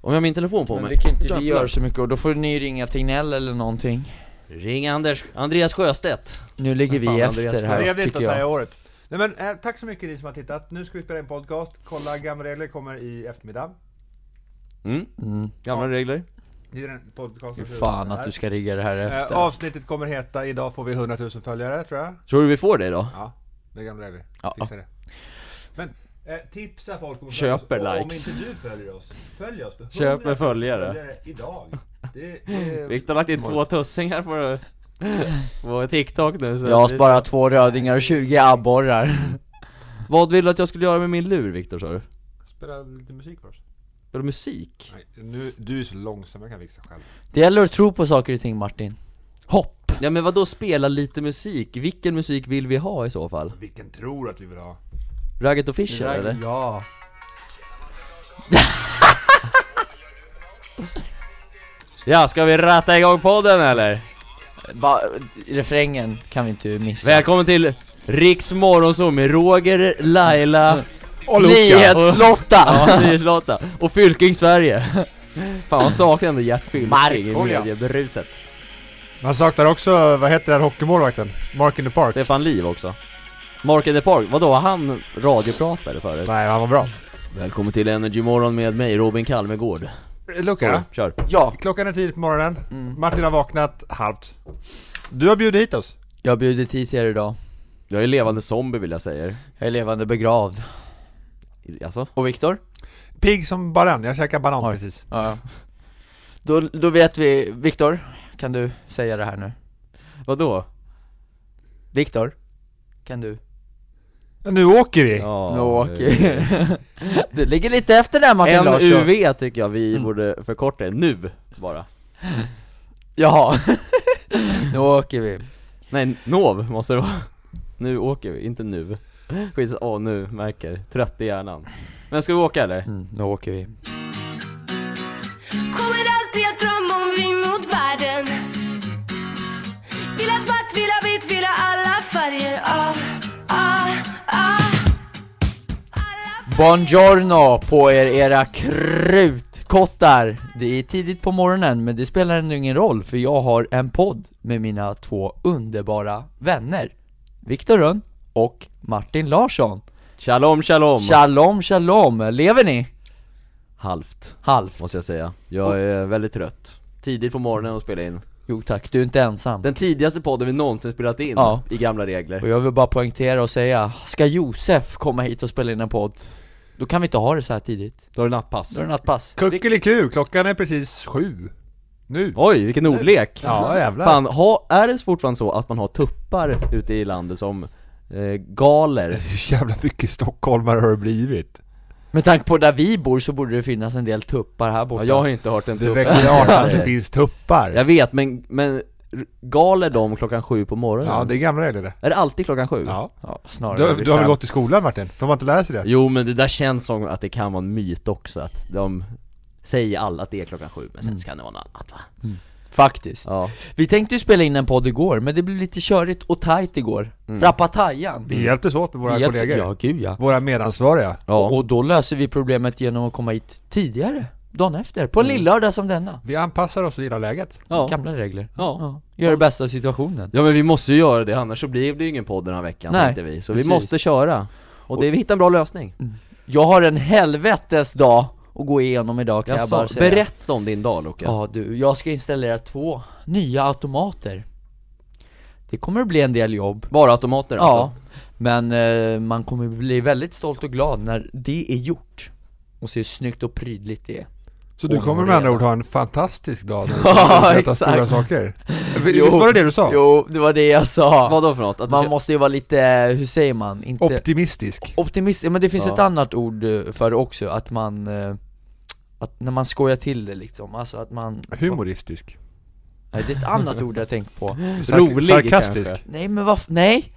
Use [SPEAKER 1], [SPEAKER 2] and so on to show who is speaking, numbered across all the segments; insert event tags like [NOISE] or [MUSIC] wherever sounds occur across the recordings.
[SPEAKER 1] Om jag har min telefon på
[SPEAKER 2] Men
[SPEAKER 1] mig
[SPEAKER 2] det kan inte
[SPEAKER 1] Jävlar.
[SPEAKER 2] vi göra så mycket och då får ni ringa Tegnell eller någonting
[SPEAKER 1] Ring Anders, Andreas Sjöstedt
[SPEAKER 2] Nu ligger vi
[SPEAKER 1] Fan, Andreas,
[SPEAKER 2] efter
[SPEAKER 1] vad
[SPEAKER 2] här
[SPEAKER 3] Trevligt
[SPEAKER 2] tycker
[SPEAKER 3] att det här
[SPEAKER 2] jag
[SPEAKER 3] året. Nej, men, eh, tack så mycket ni som har tittat. Nu ska vi spela in podcast. Kolla gamla regler kommer i eftermiddag.
[SPEAKER 1] mm.
[SPEAKER 2] mm.
[SPEAKER 1] Gamla regler
[SPEAKER 3] Det är ju den podcast
[SPEAKER 2] Fy
[SPEAKER 3] som
[SPEAKER 2] Fan
[SPEAKER 3] slutar
[SPEAKER 2] att du
[SPEAKER 3] här.
[SPEAKER 2] ska rigga det här
[SPEAKER 3] Eh,
[SPEAKER 2] efter
[SPEAKER 3] Avsnittet kommer heta Idag får vi 100 000 följare tror jag.
[SPEAKER 1] Tror du vi får det då?
[SPEAKER 3] Ja, det är gamla regler.
[SPEAKER 2] Ja.
[SPEAKER 3] Fixa det. Men eh, tipsa folk om att
[SPEAKER 1] Köper
[SPEAKER 3] följa oss.
[SPEAKER 1] likes.
[SPEAKER 3] Och Om inte du följer oss, följ oss. 100 000
[SPEAKER 1] Köper följare.
[SPEAKER 3] idag. Det, det,
[SPEAKER 1] Viktor har lagt in två tussingar på, på TikTok nu så
[SPEAKER 2] Jag har sparat två rödingar och 20 abborrar [LAUGHS]
[SPEAKER 1] Vad vill du att jag skulle göra med min lur Viktor sa du?
[SPEAKER 3] Spela lite musik för oss.
[SPEAKER 1] Spela musik?
[SPEAKER 3] Nej, nu, du är så långsam, jag kan fixa själv.
[SPEAKER 2] Det gäller att tro på saker och ting Martin Hopp!
[SPEAKER 1] Ja men vad då spela lite musik? Vilken musik vill vi ha i så fall?
[SPEAKER 3] Vilken tror att vi vill ha?
[SPEAKER 1] Ragged och Fisher eller?
[SPEAKER 2] Ja
[SPEAKER 1] Ja, ska vi ratta igång podden eller?
[SPEAKER 2] ba, Refrängen kan vi inte missa
[SPEAKER 1] Välkommen till Riks morgonzoo med Roger, Laila och
[SPEAKER 2] Nyhetslotta!
[SPEAKER 1] [LAUGHS] Ja, Nyhetslotta! Och Fylking Sverige! Fan man saknar ändå Gert Fylking i
[SPEAKER 2] Markoolio.
[SPEAKER 1] mediebruset
[SPEAKER 3] Man saknar också, vad heter den hockeymålvakten? Mark in the Park?
[SPEAKER 1] Stefan Liv också Mark in the Park, vadå var han radiopratare förut?
[SPEAKER 3] Nej, han var bra.
[SPEAKER 1] Välkommen till Energy Morgon med mig Robin Kalmegård Sorry,
[SPEAKER 3] Luca,
[SPEAKER 1] kör!
[SPEAKER 2] Ja,
[SPEAKER 3] klockan är tidigt på morgonen.
[SPEAKER 2] Mm.
[SPEAKER 3] Martin har vaknat halvt. Du har bjudit hit oss.
[SPEAKER 2] jag har bjudit hit er idag
[SPEAKER 1] Jag är levande zombie vill jag säga
[SPEAKER 2] Jag är levande begravd
[SPEAKER 1] Alltså?
[SPEAKER 2] Och Viktor?
[SPEAKER 3] Pigg som bara en, jag käkar banan
[SPEAKER 2] Oj.
[SPEAKER 3] precis.
[SPEAKER 2] Ja då, då vet vi, Viktor, kan du säga det här nu?
[SPEAKER 1] Vadå?
[SPEAKER 2] Viktor? Kan du?
[SPEAKER 3] Nu åker vi!
[SPEAKER 1] Ja, [LAUGHS]
[SPEAKER 2] [LAUGHS] du ligger lite efter där Martin Larsson
[SPEAKER 1] MUV tycker jag vi
[SPEAKER 2] Mm.
[SPEAKER 1] borde förkorta det nu, bara
[SPEAKER 2] [LAUGHS] Jaha, nu åker vi
[SPEAKER 1] Nej, NOV måste det vara Nu åker vi, inte nu Skit, åh nu, märker, trött i hjärnan Men ska vi åka eller?
[SPEAKER 2] mm, Nu åker vi
[SPEAKER 4] Kommer alltid att drömma om vi mot världen Vill ha svart, vill ha vitt, vill ha alla färger ah, ah, ah. Alla
[SPEAKER 2] Buongiorno på er era krutkottar! Det är tidigt på morgonen men det spelar ändå ingen roll för jag har en podd med mina två underbara vänner Viktor Rönn och Martin Larsson
[SPEAKER 1] Shalom shalom!
[SPEAKER 2] Shalom shalom, lever ni?
[SPEAKER 1] Halvt,
[SPEAKER 2] Halvt
[SPEAKER 1] måste jag säga Jag är väldigt trött Tidigt på morgonen och spela in
[SPEAKER 2] Jo tack, du är inte ensam
[SPEAKER 1] Den tidigaste podden vi någonsin spelat in,
[SPEAKER 2] Ja.
[SPEAKER 1] i gamla regler
[SPEAKER 2] Och jag vill bara poängtera och säga, ska Josef komma hit och spela in en podd? Då kan vi inte ha det så här tidigt
[SPEAKER 1] Då är det nattpass
[SPEAKER 2] Då är det nattpass
[SPEAKER 3] Kuckeliku, klockan är precis sju. Nu.
[SPEAKER 1] Oj, vilken ordlek!
[SPEAKER 3] Ja, jävlar.
[SPEAKER 1] Fan, ha, är det fortfarande så att man har tuppar ute i landet som eh,
[SPEAKER 3] [LAUGHS]
[SPEAKER 1] galer?
[SPEAKER 3] Hur jävla mycket stockholmare har det blivit?
[SPEAKER 2] Med tanke på där vi bor så borde det finnas en del tuppar här borta
[SPEAKER 1] Ja, jag har inte hört en
[SPEAKER 3] Det
[SPEAKER 1] tupp
[SPEAKER 3] väcker artan att det
[SPEAKER 1] säger.
[SPEAKER 3] finns tuppar.
[SPEAKER 1] Jag vet, men, men r- galer de klockan sju på morgonen?
[SPEAKER 3] Ja, det är gamla regler det.
[SPEAKER 1] Är det alltid klockan sju?
[SPEAKER 3] Ja.
[SPEAKER 2] ja, snarare
[SPEAKER 3] Du, du har väl
[SPEAKER 2] fem.
[SPEAKER 3] gått i skolan Martin? Får man inte lära sig det?
[SPEAKER 1] Jo men det där känns som att det kan vara en myt också, att de säger alla att det är klockan sju, men
[SPEAKER 3] Mm.
[SPEAKER 1] sen ska det vara något annat va?
[SPEAKER 2] Faktiskt
[SPEAKER 1] Ja,
[SPEAKER 2] Vi tänkte ju spela in en podd igår, men det blev lite körigt och tajt igår
[SPEAKER 1] Mm.
[SPEAKER 2] Rappatajan
[SPEAKER 3] Vi hjälptes åt med våra
[SPEAKER 2] Jätte-
[SPEAKER 3] kollegor.
[SPEAKER 2] Ja, gud ja
[SPEAKER 3] Våra medansvariga.
[SPEAKER 1] ja.
[SPEAKER 2] Och då löser vi problemet genom att komma hit tidigare, dagen efter, på en lillördag som denna
[SPEAKER 3] Vi anpassar oss och gillar läget.
[SPEAKER 1] Mm. ja.
[SPEAKER 2] Gamla regler
[SPEAKER 1] Ja.
[SPEAKER 2] Gör det bästa av situationen
[SPEAKER 1] ja men vi måste ju göra det, annars så blir det ju ingen podd den här veckan
[SPEAKER 2] Nej,
[SPEAKER 1] tänkte vi, så
[SPEAKER 2] precis.
[SPEAKER 1] vi måste köra och det, vi hittar en bra lösning
[SPEAKER 2] Jag har en helvetes dag att gå igenom idag kan jag,
[SPEAKER 1] Jaså,
[SPEAKER 2] bara säga
[SPEAKER 1] berätta om din dag Luka
[SPEAKER 2] Ja du, jag ska installera två nya automater Det kommer att bli en del jobb
[SPEAKER 1] Bara automater
[SPEAKER 2] Ja,
[SPEAKER 1] alltså?
[SPEAKER 2] men eh, man kommer bli väldigt stolt och glad när det är gjort Och se hur snyggt och prydligt det är
[SPEAKER 3] Så du
[SPEAKER 2] Ordning
[SPEAKER 3] kommer
[SPEAKER 2] och
[SPEAKER 3] med andra
[SPEAKER 2] reda.
[SPEAKER 3] ord ha en fantastisk
[SPEAKER 2] [LAUGHS]
[SPEAKER 3] dag när du
[SPEAKER 2] Ja,
[SPEAKER 3] ska berätta
[SPEAKER 2] exakt.
[SPEAKER 3] stora saker.
[SPEAKER 2] [LAUGHS]
[SPEAKER 3] Visst
[SPEAKER 2] Jo.
[SPEAKER 3] var det det du sa?
[SPEAKER 2] Jo, det var det jag sa!
[SPEAKER 1] Vadå för något? Att
[SPEAKER 2] Man
[SPEAKER 1] du...
[SPEAKER 2] måste ju vara lite, eh, hur säger man? Inte...
[SPEAKER 3] Optimistisk.
[SPEAKER 2] optimist, ja, men det finns
[SPEAKER 1] Ja.
[SPEAKER 2] ett annat ord eh, för det också, att man eh, att när man skojar till det liksom, alltså
[SPEAKER 1] [LAUGHS]
[SPEAKER 2] att man...
[SPEAKER 3] Humoristisk.
[SPEAKER 2] Nej, det är ett annat ord jag tänkt på
[SPEAKER 3] Sark-
[SPEAKER 1] Rolig
[SPEAKER 3] Sarkastisk.
[SPEAKER 1] kanske.
[SPEAKER 2] Nej men vad, nej!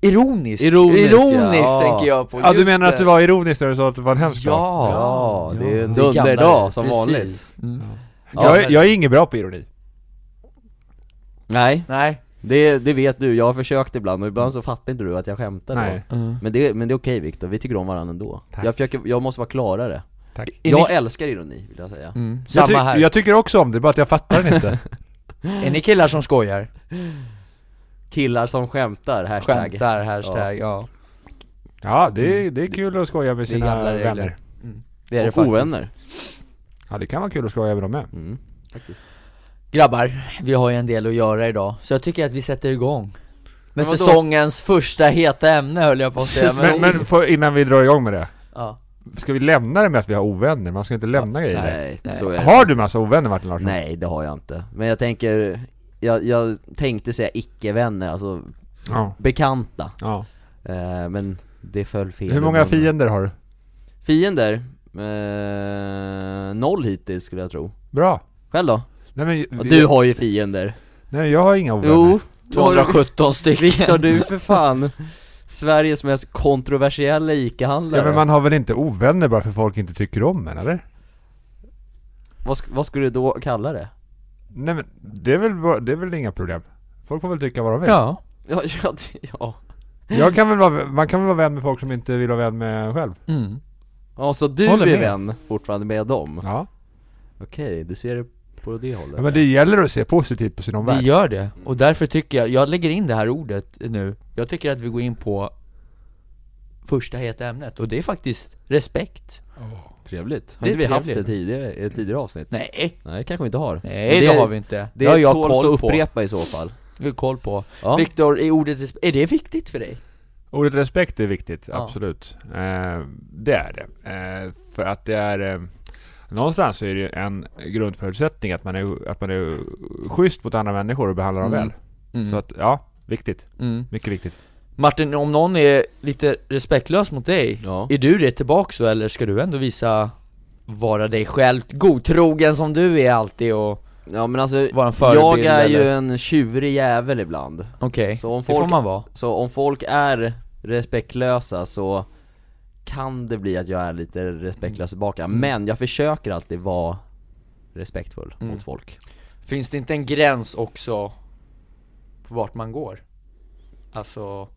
[SPEAKER 2] Ironisk,
[SPEAKER 1] Ironisk,
[SPEAKER 2] Ironisk
[SPEAKER 1] ja.
[SPEAKER 2] tänker jag på,
[SPEAKER 3] Ja, du
[SPEAKER 2] just
[SPEAKER 3] menar att
[SPEAKER 2] det.
[SPEAKER 3] du var ironisk när du sa att det var en hemsk dag?
[SPEAKER 2] Ja!
[SPEAKER 1] Ja, det är en
[SPEAKER 2] Det är gamla
[SPEAKER 1] dunderdag
[SPEAKER 2] det,
[SPEAKER 1] som
[SPEAKER 2] precis.
[SPEAKER 1] vanligt
[SPEAKER 2] Mm.
[SPEAKER 3] Jag, är- jag är ingen bra på ironi.
[SPEAKER 1] Nej,
[SPEAKER 2] Nej,
[SPEAKER 1] det, det vet du, jag har försökt ibland och ibland så fattar inte du att jag skämtar då.
[SPEAKER 3] Nej.
[SPEAKER 2] mm.
[SPEAKER 1] Men det, men det är okej Viktor, vi tycker om varandra ändå
[SPEAKER 3] Tack.
[SPEAKER 1] jag, försöker, jag måste vara klarare
[SPEAKER 3] Tack.
[SPEAKER 2] Är
[SPEAKER 1] Jag
[SPEAKER 2] ni,
[SPEAKER 1] älskar ironi vill jag säga
[SPEAKER 2] mm,
[SPEAKER 3] Jag, ty-
[SPEAKER 2] samma här.
[SPEAKER 3] jag tycker också om det, bara att jag fattar
[SPEAKER 2] [LAUGHS]
[SPEAKER 3] den inte.
[SPEAKER 2] Är ni killar som skojar?
[SPEAKER 1] Killar som skämtar, hashtag
[SPEAKER 2] Skämtar, hashtag, ja.
[SPEAKER 3] Ja, det är, det är kul att skoja med
[SPEAKER 2] Det är
[SPEAKER 3] sina
[SPEAKER 2] gamla regler.
[SPEAKER 3] vänner.
[SPEAKER 2] Det är det
[SPEAKER 1] Och
[SPEAKER 2] faktiskt.
[SPEAKER 1] ovänner
[SPEAKER 3] Ja, det kan vara kul att skoja med dem med.
[SPEAKER 1] mm. Faktiskt
[SPEAKER 2] Grabbar, vi har ju en del att göra idag, så jag tycker att vi sätter igång
[SPEAKER 1] Men
[SPEAKER 2] Med
[SPEAKER 1] vadå?
[SPEAKER 2] säsongens första heta ämne höll jag på att säga, men,
[SPEAKER 3] [LAUGHS] Men, men för, innan vi drar igång med det,
[SPEAKER 2] ja.
[SPEAKER 3] ska vi lämna det med att vi har ovänner? Man ska inte lämna grejer.
[SPEAKER 1] Nej,
[SPEAKER 2] nej.
[SPEAKER 1] så är det
[SPEAKER 3] Har du massa ovänner Martin Larsson?
[SPEAKER 1] Nej det har jag inte, men jag tänker Jag, jag tänkte säga icke-vänner, alltså
[SPEAKER 3] Ja.
[SPEAKER 1] bekanta
[SPEAKER 3] ja.
[SPEAKER 1] eh, Men det föll fel
[SPEAKER 3] Hur många fiender har du?
[SPEAKER 1] Fiender? Eh, noll hittills skulle jag tro
[SPEAKER 3] Bra.
[SPEAKER 1] Själv då?
[SPEAKER 3] Nej men,
[SPEAKER 1] Ja, Du har ju fiender
[SPEAKER 3] nej, jag har inga ovänner.
[SPEAKER 1] Jo, du har-
[SPEAKER 2] 217 stycken
[SPEAKER 1] Viktor [LAUGHS] du för fan Sveriges mest kontroversiella ICA-handlare
[SPEAKER 3] Ja, men man har väl inte ovänner bara för folk inte tycker om en, eller?
[SPEAKER 1] vad, sk- vad skulle du då kalla det? [LAUGHS]
[SPEAKER 3] Nej men, det är väl, bara- det är väl inga problem. Folk får väl tycka vad de vill.
[SPEAKER 2] Ja,
[SPEAKER 1] Ja, ja, det- ja.
[SPEAKER 3] Jag kan väl vara, man kan väl vara vän med folk som inte vill vara vän med en själv?
[SPEAKER 2] mm.
[SPEAKER 1] ja så du
[SPEAKER 2] Håller
[SPEAKER 1] är
[SPEAKER 2] med.
[SPEAKER 1] vän fortfarande med dem?
[SPEAKER 3] Ja.
[SPEAKER 1] Okej, du ser det på det hållet?
[SPEAKER 3] ja men det gäller att se positivt på sin
[SPEAKER 2] vi
[SPEAKER 3] omvärld.
[SPEAKER 2] gör det, och därför tycker jag, jag lägger in det här ordet nu Jag tycker att vi går in på första heta ämnet, och det är faktiskt respekt
[SPEAKER 1] Trevligt. Har
[SPEAKER 2] Det är
[SPEAKER 1] inte vi haft det
[SPEAKER 2] trevligt.
[SPEAKER 1] tidigare, i ett tidigare avsnitt?
[SPEAKER 2] Nej,
[SPEAKER 1] Nej, kanske vi inte har.
[SPEAKER 2] nej det,
[SPEAKER 1] Det-
[SPEAKER 2] har vi inte
[SPEAKER 1] Det
[SPEAKER 2] Det har jag
[SPEAKER 1] tåls att
[SPEAKER 2] koll på,
[SPEAKER 1] upprepa i så fall.
[SPEAKER 2] vi har koll på
[SPEAKER 1] Ja.
[SPEAKER 2] Viktor, är ordet respe- är det viktigt för dig?
[SPEAKER 3] Ordet respekt är viktigt,
[SPEAKER 2] Ja.
[SPEAKER 3] absolut. Eh, det är det. Eh, för att det är... Eh, någonstans är det ju en grundförutsättning att man är, att man är schysst mot andra människor och behandlar dem
[SPEAKER 2] Mm.
[SPEAKER 3] väl. Så att, ja, viktigt.
[SPEAKER 2] mm.
[SPEAKER 3] Mycket viktigt.
[SPEAKER 2] Martin, om någon är lite respektlös mot dig,
[SPEAKER 1] Ja.
[SPEAKER 2] är du det tillbaks då eller ska du ändå visa vara dig själv, godtrogen som du är alltid och
[SPEAKER 1] ja men alltså,
[SPEAKER 2] vara en förebild
[SPEAKER 1] jag är ju
[SPEAKER 2] eller?
[SPEAKER 1] en tjurig jävel ibland.
[SPEAKER 2] Okej,
[SPEAKER 1] Så om
[SPEAKER 2] det får
[SPEAKER 1] folk,
[SPEAKER 2] man vara
[SPEAKER 1] så om folk är respektlösa så kan det bli att jag är lite respektlös tillbaka. Men jag försöker alltid vara respektfull
[SPEAKER 2] Mm.
[SPEAKER 1] mot folk.
[SPEAKER 2] Finns det inte en gräns också på vart man går? Alltså,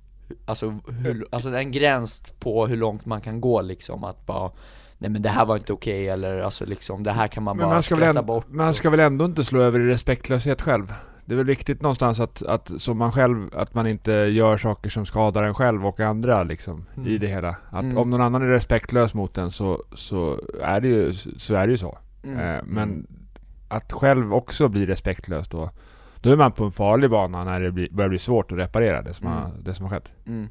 [SPEAKER 2] alltså, hur, alltså en gräns på hur långt man kan gå liksom att bara Nej men det här var inte okej eller alltså liksom det här kan man bara skratta bort
[SPEAKER 3] man ska väl ändå inte slå över i respektlöshet själv? Det är väl viktigt någonstans att, att som man själv, att man inte gör saker som skadar en själv och andra liksom,
[SPEAKER 2] Mm.
[SPEAKER 3] i det hela. Att
[SPEAKER 2] Mm.
[SPEAKER 3] om någon annan är respektlös mot en så, så är det ju så. Är det ju så.
[SPEAKER 2] mm.
[SPEAKER 3] Eh, Men att själv också bli respektlös då, då är man på en farlig bana när det blir, börjar bli svårt att reparera det som, har, det som har skett.
[SPEAKER 2] Mm.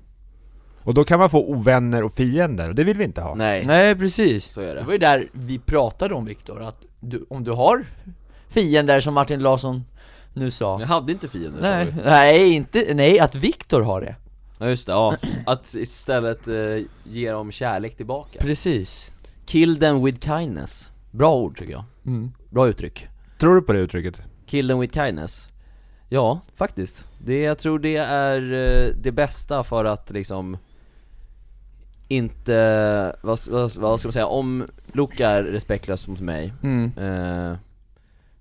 [SPEAKER 3] Och då kan man få ovänner och fiender, och det vill vi inte ha.
[SPEAKER 1] Nej,
[SPEAKER 2] Nej precis
[SPEAKER 1] så är
[SPEAKER 2] Det
[SPEAKER 1] det.
[SPEAKER 2] var ju där vi pratade om Viktor, att du, om du har fiender som Martin Larsson nu sa
[SPEAKER 1] Jag hade inte fiender sa
[SPEAKER 2] Nej,
[SPEAKER 1] du.
[SPEAKER 2] nej inte, nej att Viktor har det
[SPEAKER 1] Ja just det, ja. Att istället eh, ge dem kärlek tillbaka
[SPEAKER 2] Precis
[SPEAKER 1] Kill them with kindness Bra ord tycker jag,
[SPEAKER 2] mm.
[SPEAKER 1] bra uttryck
[SPEAKER 3] Tror du på det uttrycket?
[SPEAKER 1] Kill them with kindness Ja, faktiskt det, Jag tror det är eh, det bästa för att liksom Inte, vad, vad, vad ska man säga, om Luca är respektlös mot mig
[SPEAKER 2] Mm.
[SPEAKER 1] eh,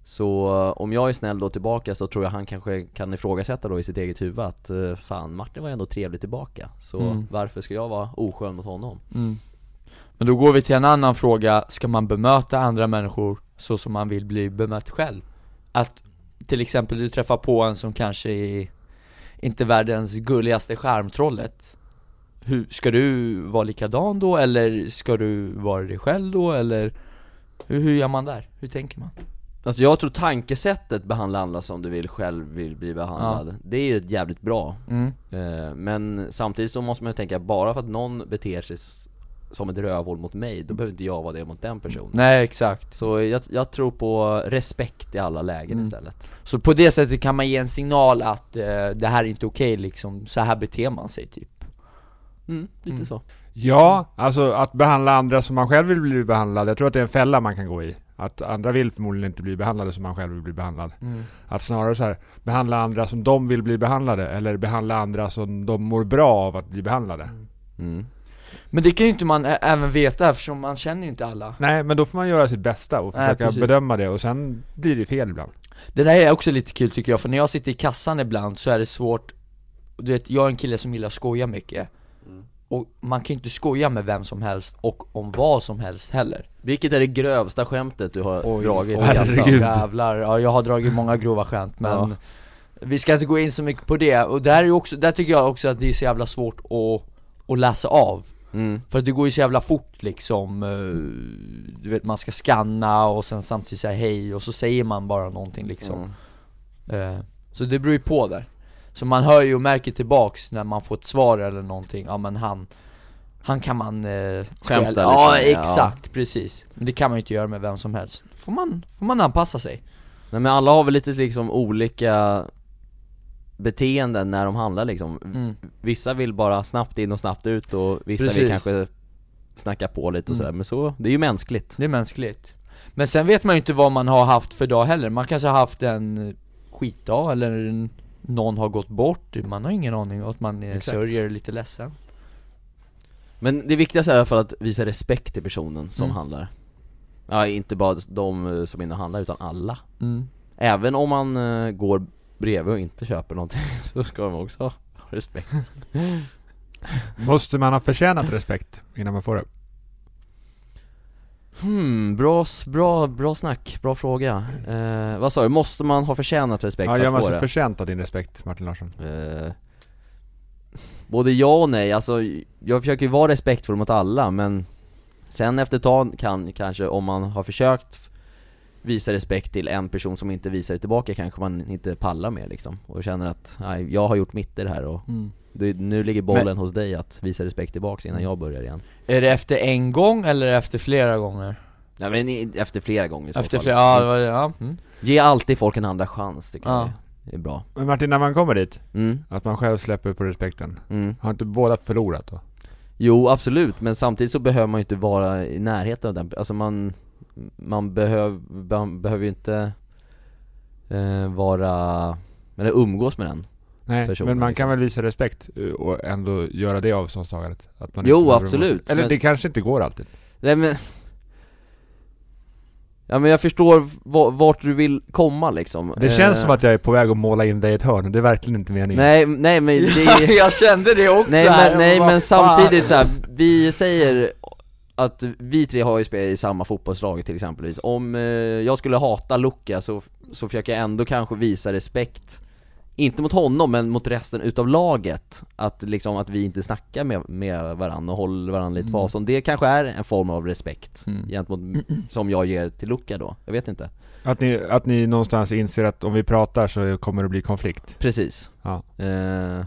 [SPEAKER 1] Så om jag är snäll då tillbaka så tror jag han kanske kan ifrågasätta då i sitt eget huvud att eh, Fan, Martin var ju ändå trevlig tillbaka Så
[SPEAKER 2] Mm.
[SPEAKER 1] varför ska jag vara oskön mot honom?
[SPEAKER 2] Mm. Men då går vi till en annan fråga, ska man bemöta andra människor så som man vill bli bemött själv? Att till exempel du träffar på en som kanske är inte världens gulligaste skärmtrollet Hur, Ska du vara likadan då eller ska du vara dig själv då eller? Hur, hur gör man där? Hur tänker man?
[SPEAKER 1] Alltså jag tror tankesättet behandla andra som du vill själv vill bli behandlad, det är ju jävligt bra
[SPEAKER 2] Mm.
[SPEAKER 1] Eh, Men samtidigt så måste man ju tänka, bara för att någon beter sig s- som ett rövhål mot mig, då behöver inte jag vara det mot den personen
[SPEAKER 2] Nej exakt
[SPEAKER 1] Så jag, jag tror på respekt i alla lägen
[SPEAKER 2] Mm.
[SPEAKER 1] istället
[SPEAKER 2] Så på det sättet kan man ge en signal att eh, det här är inte okej liksom, så här beter man sig typ
[SPEAKER 1] mm, lite
[SPEAKER 2] Mm.
[SPEAKER 1] så
[SPEAKER 3] Ja, alltså att behandla andra som man själv vill bli behandlad. Jag tror att det är en fälla man kan gå i. Att andra vill förmodligen inte bli behandlade som man själv vill bli behandlad.
[SPEAKER 2] Mm.
[SPEAKER 3] Att snarare så här, behandla andra som de vill bli behandlade eller behandla andra som de mår bra av att bli behandlade.
[SPEAKER 1] mm.
[SPEAKER 2] Men det kan ju inte man ä- även veta eftersom man känner ju inte alla
[SPEAKER 3] Nej, men då får man göra sitt bästa och
[SPEAKER 2] Nej,
[SPEAKER 3] försöka
[SPEAKER 2] precis.
[SPEAKER 3] bedöma det och sen blir det fel ibland.
[SPEAKER 2] Det där är också lite kul tycker jag, för när jag sitter i kassan ibland så är det svårt Du vet, jag är en kille som gillar att skoja mycket och man kan ju inte skoja med vem som helst och om vad som helst heller
[SPEAKER 1] Vilket är det grövsta skämtet du har dragit?
[SPEAKER 2] oj,
[SPEAKER 3] herregud.
[SPEAKER 2] jävlar, ja, jag har dragit många grova skämt men
[SPEAKER 1] Ja.
[SPEAKER 2] Vi ska inte gå in så mycket på det, och där är ju också, där tycker jag också att det är så jävla svårt att, att läsa av
[SPEAKER 1] Mm.
[SPEAKER 2] För att det går ju så jävla fort liksom, eh, du vet man ska scanna och sen samtidigt säga hej och så säger man bara någonting liksom Eh, Så det beror ju på där Så man hör ju och märker tillbaks när man får ett svar eller någonting, ja men han Han kan man eh,
[SPEAKER 1] Skämta
[SPEAKER 2] lite Ja
[SPEAKER 1] lite, ja.
[SPEAKER 2] exakt, precis Men det kan man ju inte göra med vem som helst, får man, får man anpassa sig
[SPEAKER 1] Nej men alla har väl lite liksom olika beteenden när de handlar liksom
[SPEAKER 2] mm.
[SPEAKER 1] Vissa vill bara snabbt in och snabbt ut och vissa
[SPEAKER 2] Precis.
[SPEAKER 1] vill kanske snacka på lite och
[SPEAKER 2] Mm.
[SPEAKER 1] sådär Men så, det är ju mänskligt
[SPEAKER 2] Det är mänskligt Men sen vet man ju inte vad man har haft för dag heller, man kanske har haft en eh, skitdag eller en, någon har gått bort, man har ingen aning om att man är
[SPEAKER 1] Exakt.
[SPEAKER 2] sörjer och lite ledsen
[SPEAKER 1] Men det viktigaste är i alla fall att visa respekt till personen som
[SPEAKER 2] Mm.
[SPEAKER 1] handlar Ja inte bara de eh, som är inne och handlar utan alla
[SPEAKER 2] mm.
[SPEAKER 1] Även om man eh, går bredvid och inte köper någonting [LAUGHS] så ska de också ha respekt
[SPEAKER 3] Måste man ha förtjänat respekt innan man får det?
[SPEAKER 1] Hmm, bra, s- bra, bra snack, bra fråga eh, Vad sa du, måste man ha förtjänat respekt
[SPEAKER 3] Ja,
[SPEAKER 1] för
[SPEAKER 3] gör
[SPEAKER 1] att
[SPEAKER 3] man
[SPEAKER 1] få
[SPEAKER 3] sig
[SPEAKER 1] det?
[SPEAKER 3] förtjänt av din respekt, Martin Larsson?
[SPEAKER 1] Eh, både ja och nej, alltså jag försöker ju vara respektfull mot alla men Sen efter ett tag kan kanske, om man har försökt visa respekt till en person som inte visar det tillbaka kanske man inte pallar mer liksom och känner att, nej jag har gjort mitt i det här och
[SPEAKER 2] Mm.
[SPEAKER 1] det, nu ligger bollen hos dig att visa respekt tillbaks innan jag börjar igen
[SPEAKER 2] Är det efter en gång eller efter flera gånger?
[SPEAKER 1] Nej men i- efter flera gånger i så
[SPEAKER 2] Efter
[SPEAKER 1] fall.
[SPEAKER 2] flera, ja det var det, ja mm.
[SPEAKER 1] Ge alltid folk en andra chans tycker
[SPEAKER 2] Ja.
[SPEAKER 1] jag Det är bra
[SPEAKER 3] Men Martin, när man kommer dit,
[SPEAKER 1] mm,
[SPEAKER 3] att man själv släpper på respekten,
[SPEAKER 1] mm.
[SPEAKER 3] har inte båda förlorat då?
[SPEAKER 1] Jo absolut, men samtidigt så behöver man ju inte vara i närheten av den, alltså man, man behöv, man behöver ju inte eh, vara, eller umgås med den
[SPEAKER 3] Nej,
[SPEAKER 1] Personen,
[SPEAKER 3] men man
[SPEAKER 1] liksom.
[SPEAKER 3] kan väl visa respekt eh, och ändå göra det avståndstagandet? Att man
[SPEAKER 1] Jo,
[SPEAKER 3] inte behöver-
[SPEAKER 1] absolut,
[SPEAKER 3] Eller
[SPEAKER 1] men-
[SPEAKER 3] det kanske inte går alltid?
[SPEAKER 1] Nej men Ja men jag förstår va- vart du vill komma liksom
[SPEAKER 3] Det känns som att jag är på väg att måla in dig i ett hörn, och det är verkligen inte meningen
[SPEAKER 1] Nej, nej men det
[SPEAKER 2] [LAUGHS]
[SPEAKER 3] [LAUGHS]
[SPEAKER 1] är
[SPEAKER 2] Jag kände det också
[SPEAKER 1] Nej
[SPEAKER 2] här,
[SPEAKER 1] men, nej,
[SPEAKER 2] vad
[SPEAKER 1] men
[SPEAKER 2] fan.
[SPEAKER 1] samtidigt så här, vi säger att vi tre har ju spelat i samma fotbollslag till exempelvis Om eh, jag skulle hata Luka så, så försöker jag ändå kanske visa respekt Inte mot honom men mot resten utav laget Att liksom att vi inte snackar med, med varandra och håller varandra lite på
[SPEAKER 2] Mm.
[SPEAKER 1] avstånd Det kanske är en form av respekt
[SPEAKER 2] Mm.
[SPEAKER 1] gentemot, som jag ger till Luka då, jag vet inte
[SPEAKER 3] Att ni, att ni någonstans inser att om vi pratar så kommer det bli konflikt.
[SPEAKER 1] Precis
[SPEAKER 3] Ja.
[SPEAKER 1] Eh,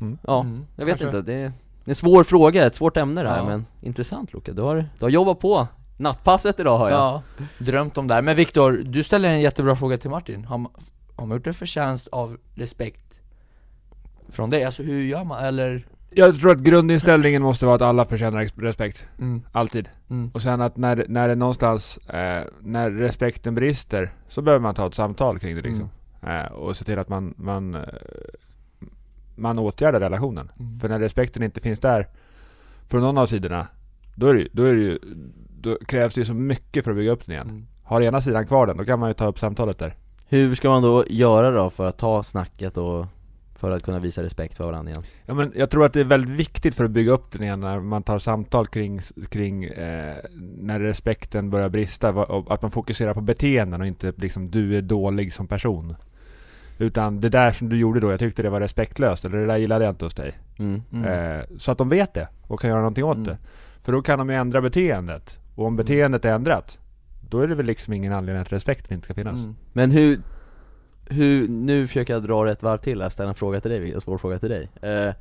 [SPEAKER 3] Mm.
[SPEAKER 1] Ja,
[SPEAKER 2] Mm.
[SPEAKER 1] Jag vet
[SPEAKER 3] Kanske.
[SPEAKER 1] inte, det är en svår fråga, ett svårt ämne det här
[SPEAKER 2] Ja.
[SPEAKER 1] men intressant Luka, du har, du har jobbat på nattpasset idag har jag
[SPEAKER 2] Ja, drömt om det här. Men Viktor, du ställer en jättebra fråga till Martin. Har man, har man gjort en förtjänst av respekt från dig? Alltså hur gör man? Eller?
[SPEAKER 3] Jag tror att grundinställningen måste vara att alla förtjänar ex- respekt.
[SPEAKER 2] Mm,
[SPEAKER 3] Alltid.
[SPEAKER 2] mm,
[SPEAKER 3] Och sen att när, när det någonstans, eh, när respekten brister, så behöver man ta ett samtal kring det liksom. Eh, och se till att man, man, eh, man åtgärdar relationen.
[SPEAKER 2] Mm.
[SPEAKER 3] För när respekten inte finns där, från någon av sidorna, då, är det, ju- då, är det ju, då krävs det ju så mycket för att bygga upp den igen.
[SPEAKER 2] mm.
[SPEAKER 3] Har ena sidan kvar den, då kan man ju ta upp samtalet där.
[SPEAKER 1] Hur ska man då göra då för att ta snacket och för att kunna visa respekt för varandra igen?
[SPEAKER 3] Ja, men jag tror att det är väldigt viktigt för att bygga upp den igen när man tar samtal kring, kring eh, när respekten börjar brista, va- och att man fokuserar på beteenden och inte liksom du är dålig som person. Utan det där som du gjorde då, jag tyckte det var respektlöst, eller det där gillade jag inte hos dig.
[SPEAKER 1] Mm.
[SPEAKER 2] Mm.
[SPEAKER 3] Eh, så att de vet det och kan göra någonting åt
[SPEAKER 2] Mm.
[SPEAKER 3] det. För då kan de ju ändra beteendet. Och om beteendet är ändrat, då är det väl liksom ingen anledning att respekten inte ska finnas.
[SPEAKER 2] Mm.
[SPEAKER 1] Men hur, hur, nu försöker jag dra ett varv till här, ställa en fråga till dig, en svår fråga till dig eh,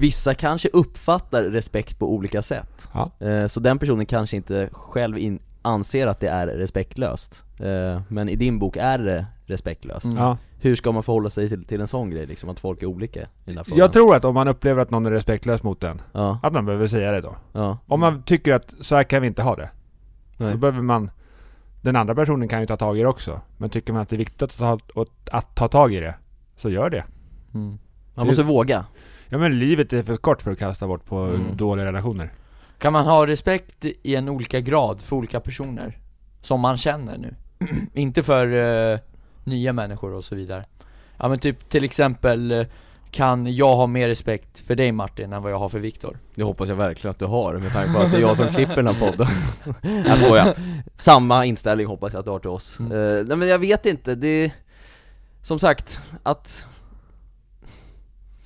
[SPEAKER 1] Vissa kanske uppfattar respekt på olika sätt
[SPEAKER 3] Ja.
[SPEAKER 1] eh, Så den personen kanske inte själv in, anser att det är respektlöst eh, Men i din bok är det respektlöst
[SPEAKER 2] Mm.
[SPEAKER 3] Ja.
[SPEAKER 1] Hur ska man förhålla sig till, till en sån grej liksom, att folk är olika i den här frågan?
[SPEAKER 3] Jag tror att om man upplever att någon är respektlös mot den,
[SPEAKER 1] Ja,
[SPEAKER 3] att man behöver säga det då.
[SPEAKER 1] ja,
[SPEAKER 3] Om man tycker att så här kan vi inte ha det.
[SPEAKER 1] Nej.
[SPEAKER 3] Så behöver man... Den andra personen kan ju ta tag i det också. Men tycker man att det är viktigt att ta, att, att ta tag i det, så gör det.
[SPEAKER 2] Mm.
[SPEAKER 1] man måste våga
[SPEAKER 3] Ja men livet är för kort för att kasta bort på
[SPEAKER 1] Mm.
[SPEAKER 3] dåliga relationer.
[SPEAKER 2] Kan man ha respekt i en olika grad för olika personer? Som man känner nu? [CLEARS THROAT] Inte för eh, nya människor och så vidare Ja men typ till exempel eh, kan jag ha mer respekt för dig Martin än vad jag har för Viktor.
[SPEAKER 1] Det hoppas jag verkligen att du har med tanke på att det är jag som klipper den här podden Jag skojar Samma inställning hoppas jag att du har till oss
[SPEAKER 2] Mm.
[SPEAKER 1] Eh, Nej men jag vet inte, det Som sagt, att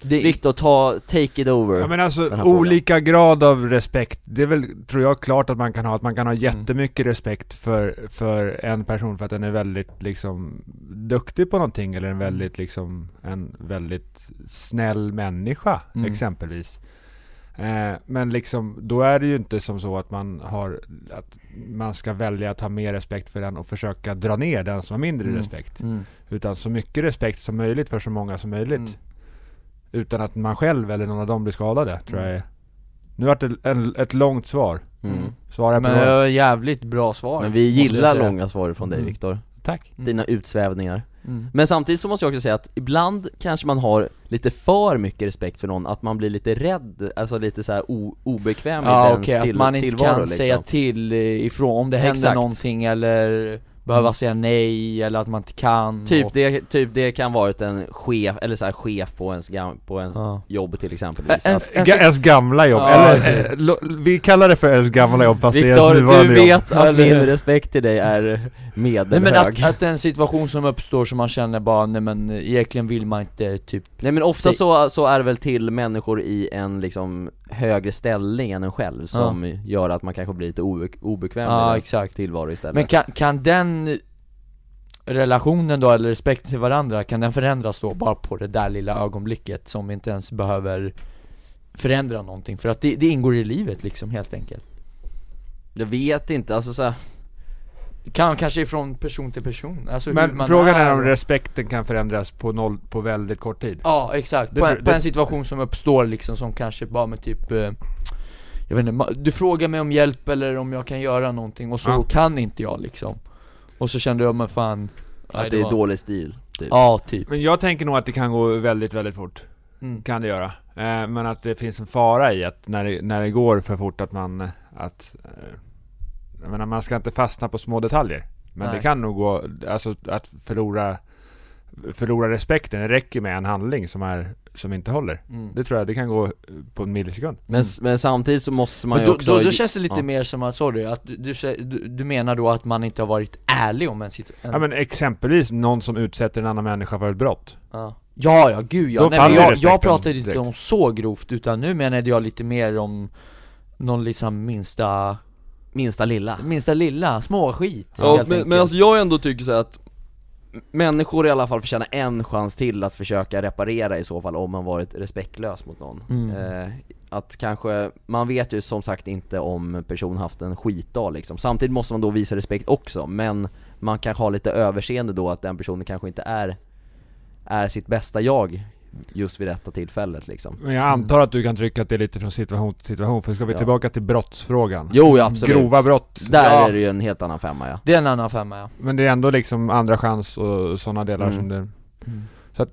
[SPEAKER 2] Det-
[SPEAKER 1] Viktor ta, take it over
[SPEAKER 3] Ja men
[SPEAKER 1] den
[SPEAKER 3] alltså
[SPEAKER 1] här frågan.
[SPEAKER 3] olika grad av respekt, det är väl, tror jag, klart att man kan ha. Att man kan ha jättemycket respekt för, för en person för att den är väldigt liksom duktig på någonting eller en väldigt liksom, en väldigt snäll människa
[SPEAKER 2] Mm.
[SPEAKER 3] exempelvis. Eh, men liksom, då är det ju inte som så att man har, att man ska välja att ha mer respekt för den och försöka dra ner den som har mindre
[SPEAKER 2] Mm.
[SPEAKER 3] respekt.
[SPEAKER 2] Mm.
[SPEAKER 3] Utan så mycket respekt som möjligt för så många som möjligt.
[SPEAKER 2] Mm.
[SPEAKER 3] Utan att man själv eller någon av dem blir skadade, tror jag är. Nu vart det en, ett långt svar.
[SPEAKER 1] mm.
[SPEAKER 3] Svarar jag på
[SPEAKER 2] Men eh,
[SPEAKER 3] något?
[SPEAKER 2] jag jävligt bra svar.
[SPEAKER 1] Men vi
[SPEAKER 2] måste jag
[SPEAKER 1] gillar
[SPEAKER 2] säga.
[SPEAKER 1] långa svar från dig
[SPEAKER 2] Mm.
[SPEAKER 1] Viktor
[SPEAKER 3] Tack.
[SPEAKER 2] Mm.
[SPEAKER 1] Dina utsvävningar
[SPEAKER 2] Mm.
[SPEAKER 1] Men samtidigt så måste jag också säga att ibland kanske man har lite för mycket respekt för någon, att man blir lite rädd, alltså lite så här o- obekväm i
[SPEAKER 2] Ja
[SPEAKER 1] dens
[SPEAKER 2] okej, att
[SPEAKER 1] till-
[SPEAKER 2] man inte
[SPEAKER 1] tillvaro,
[SPEAKER 2] kan
[SPEAKER 1] liksom.
[SPEAKER 2] säga till eh, ifrån om det händer
[SPEAKER 1] Exakt. Mm.
[SPEAKER 2] någonting eller behöva säga nej eller att man inte kan
[SPEAKER 1] Typ
[SPEAKER 2] och,
[SPEAKER 1] det, typ det kan varit en chef, eller så här chef på ens, gam- på ens
[SPEAKER 2] ja.
[SPEAKER 1] jobb till exempel
[SPEAKER 2] Äh, En- en-
[SPEAKER 1] Att-
[SPEAKER 3] Ga- ens gamla jobb,
[SPEAKER 2] Alltså- Ja,
[SPEAKER 3] eller
[SPEAKER 2] okej.
[SPEAKER 3] eh, lo, vi kallar det för ens gamla jobb fast det är ens
[SPEAKER 1] Viktor, du
[SPEAKER 3] nuvarande jobb.
[SPEAKER 1] vet att
[SPEAKER 2] Eller-
[SPEAKER 1] min respekt till dig är
[SPEAKER 2] Nej men
[SPEAKER 1] medelhög
[SPEAKER 2] att, att en situation som uppstår som man känner bara, nej men eh, egentligen vill man inte typ
[SPEAKER 1] Nej men ofta
[SPEAKER 2] Säg-
[SPEAKER 1] så, så är det väl till människor i en liksom högre ställning än en själv som gör att man kanske blir lite obe- obekväm
[SPEAKER 2] Ja,
[SPEAKER 1] i deras
[SPEAKER 2] exakt.
[SPEAKER 1] tillvaro istället
[SPEAKER 2] Men kan, kan den relationen då, eller respekten till varandra, kan den förändras då bara på det där lilla ögonblicket som inte ens behöver förändra någonting? För att det, det ingår i livet liksom helt enkelt.
[SPEAKER 1] Jag vet inte, alltså så här,
[SPEAKER 2] Kan, kanske ifrån person till person, alltså hur
[SPEAKER 3] Men
[SPEAKER 2] man
[SPEAKER 3] frågan är om respekten kan förändras på, noll, på väldigt kort tid.
[SPEAKER 2] Ja, exakt.
[SPEAKER 3] Det
[SPEAKER 2] På,
[SPEAKER 3] tror-
[SPEAKER 2] en, på
[SPEAKER 3] det-
[SPEAKER 2] en situation som uppstår liksom, som kanske bara med typ eh, Jag vet inte, ma- du frågar mig om hjälp eller om jag kan göra någonting och så
[SPEAKER 3] Ja.
[SPEAKER 2] kan inte jag liksom Och så kände jag, men fan nej,
[SPEAKER 1] att det är
[SPEAKER 2] var-
[SPEAKER 1] dålig stil typ
[SPEAKER 2] Ja, typ
[SPEAKER 3] Men jag tänker nog att det kan gå väldigt, väldigt fort.
[SPEAKER 2] mm.
[SPEAKER 3] Kan det göra. Eh, men att det finns en fara i att när det, när det går för fort att man... eh, Att, eh, jag menar, man ska inte fastna på små detaljer. Men
[SPEAKER 2] Nej.
[SPEAKER 3] det kan nog gå... Alltså att förlora, förlora respekten. Det räcker med en handling som, är, som inte håller.
[SPEAKER 2] Mm.
[SPEAKER 3] Det tror jag, det kan gå eh, på en millisekund.
[SPEAKER 1] Men, s- men samtidigt så måste man ju
[SPEAKER 2] Men då,
[SPEAKER 1] också
[SPEAKER 2] då, då känns det lite
[SPEAKER 1] ja.
[SPEAKER 2] mer som att, sorry, att du, du, sä- du, du menar då att man inte har varit ärlig om en situation?
[SPEAKER 3] Ja men exempelvis någon som utsätter en annan människa för ett brott.
[SPEAKER 2] ja. ja, ja, gud ja.
[SPEAKER 3] Då
[SPEAKER 2] Nej, men
[SPEAKER 3] faller
[SPEAKER 2] jag,
[SPEAKER 3] respekten
[SPEAKER 2] jag pratade inte
[SPEAKER 3] direkt.
[SPEAKER 2] om så grovt, utan nu menade jag lite mer om någon liksom minsta,
[SPEAKER 1] minsta lilla
[SPEAKER 2] minsta lilla, små skit
[SPEAKER 1] Ja,
[SPEAKER 2] helt
[SPEAKER 1] men,
[SPEAKER 2] enkelt.
[SPEAKER 1] men alltså jag ändå tycker så här att Människor i alla fall förtjänar en chans till att försöka reparera i så fall om man varit respektlös mot någon
[SPEAKER 2] Mm.
[SPEAKER 1] eh, Att kanske, man vet ju som sagt inte om personen haft en skitdag liksom Samtidigt måste man då visa respekt också men Man kanske har lite överseende då att den personen kanske inte är Är sitt bästa jag just vid detta tillfället liksom
[SPEAKER 3] Men jag antar att du kan trycka att det är lite från situation till situation. För ska vi
[SPEAKER 1] Ja.
[SPEAKER 3] tillbaka till brottsfrågan.
[SPEAKER 1] Jo ja, absolut
[SPEAKER 3] Grova brott.
[SPEAKER 1] Där
[SPEAKER 2] Ja.
[SPEAKER 1] är det ju en helt annan femma ja
[SPEAKER 2] Det är en annan femma ja.
[SPEAKER 3] Men det är ändå liksom andra chans och sådana delar
[SPEAKER 1] Mm.
[SPEAKER 3] som det... Så att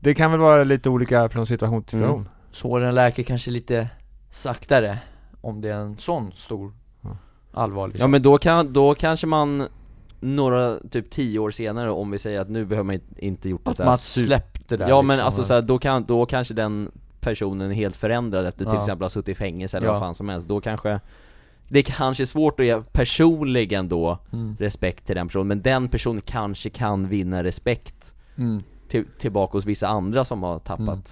[SPEAKER 3] det kan väl vara lite olika från situation till
[SPEAKER 1] Mm.
[SPEAKER 3] situation.
[SPEAKER 2] Såren läker kanske lite saktare, om det är en sån stor,
[SPEAKER 3] Ja.
[SPEAKER 2] allvarlig
[SPEAKER 1] Ja men då, kan, då kanske man några, typ tio år senare om vi säger att nu behöver man inte- inte gjort
[SPEAKER 2] Att
[SPEAKER 1] det
[SPEAKER 2] man släppte det
[SPEAKER 1] Ja
[SPEAKER 2] där
[SPEAKER 1] men
[SPEAKER 2] liksom.
[SPEAKER 1] alltså så här, då, kan, då kanske den personen är helt förändrad efter till
[SPEAKER 2] Ja.
[SPEAKER 1] exempel har suttit i fängelse eller
[SPEAKER 2] Ja.
[SPEAKER 1] vad fan som helst Då kanske Det kanske är svårt att ge personligen då
[SPEAKER 2] mm.
[SPEAKER 1] respekt till den personen men den personen kanske kan vinna respekt
[SPEAKER 2] Mm.
[SPEAKER 1] till, tillbaka hos vissa andra som har tappat
[SPEAKER 2] Mm.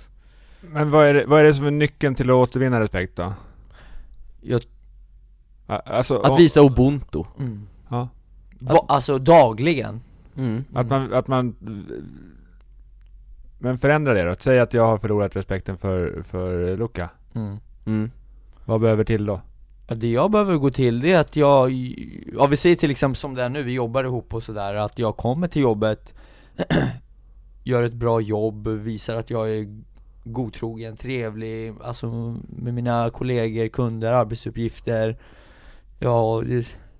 [SPEAKER 3] Men vad är, det, vad är det som är nyckeln till att återvinna respekt då?
[SPEAKER 2] Jag
[SPEAKER 3] A- Alltså,
[SPEAKER 1] Att
[SPEAKER 3] om-
[SPEAKER 1] visa ubuntu
[SPEAKER 2] Mm.
[SPEAKER 3] Ja.
[SPEAKER 2] Va, alltså dagligen?
[SPEAKER 1] mm.
[SPEAKER 3] Att man, att man... Men förändra det då. Säg att jag har förlorat respekten för, för Luca.
[SPEAKER 2] Mm.
[SPEAKER 1] Mm.
[SPEAKER 3] Vad behöver till då?
[SPEAKER 2] Ja, Det jag behöver gå till det är att jag, ja vi säger till exempel som det är nu, vi jobbar ihop och sådär, att jag kommer till jobbet, [CLEARS THROAT] gör ett bra jobb, visar att jag är godtrogen, trevlig, alltså med mina kollegor, kunder, arbetsuppgifter. Ja,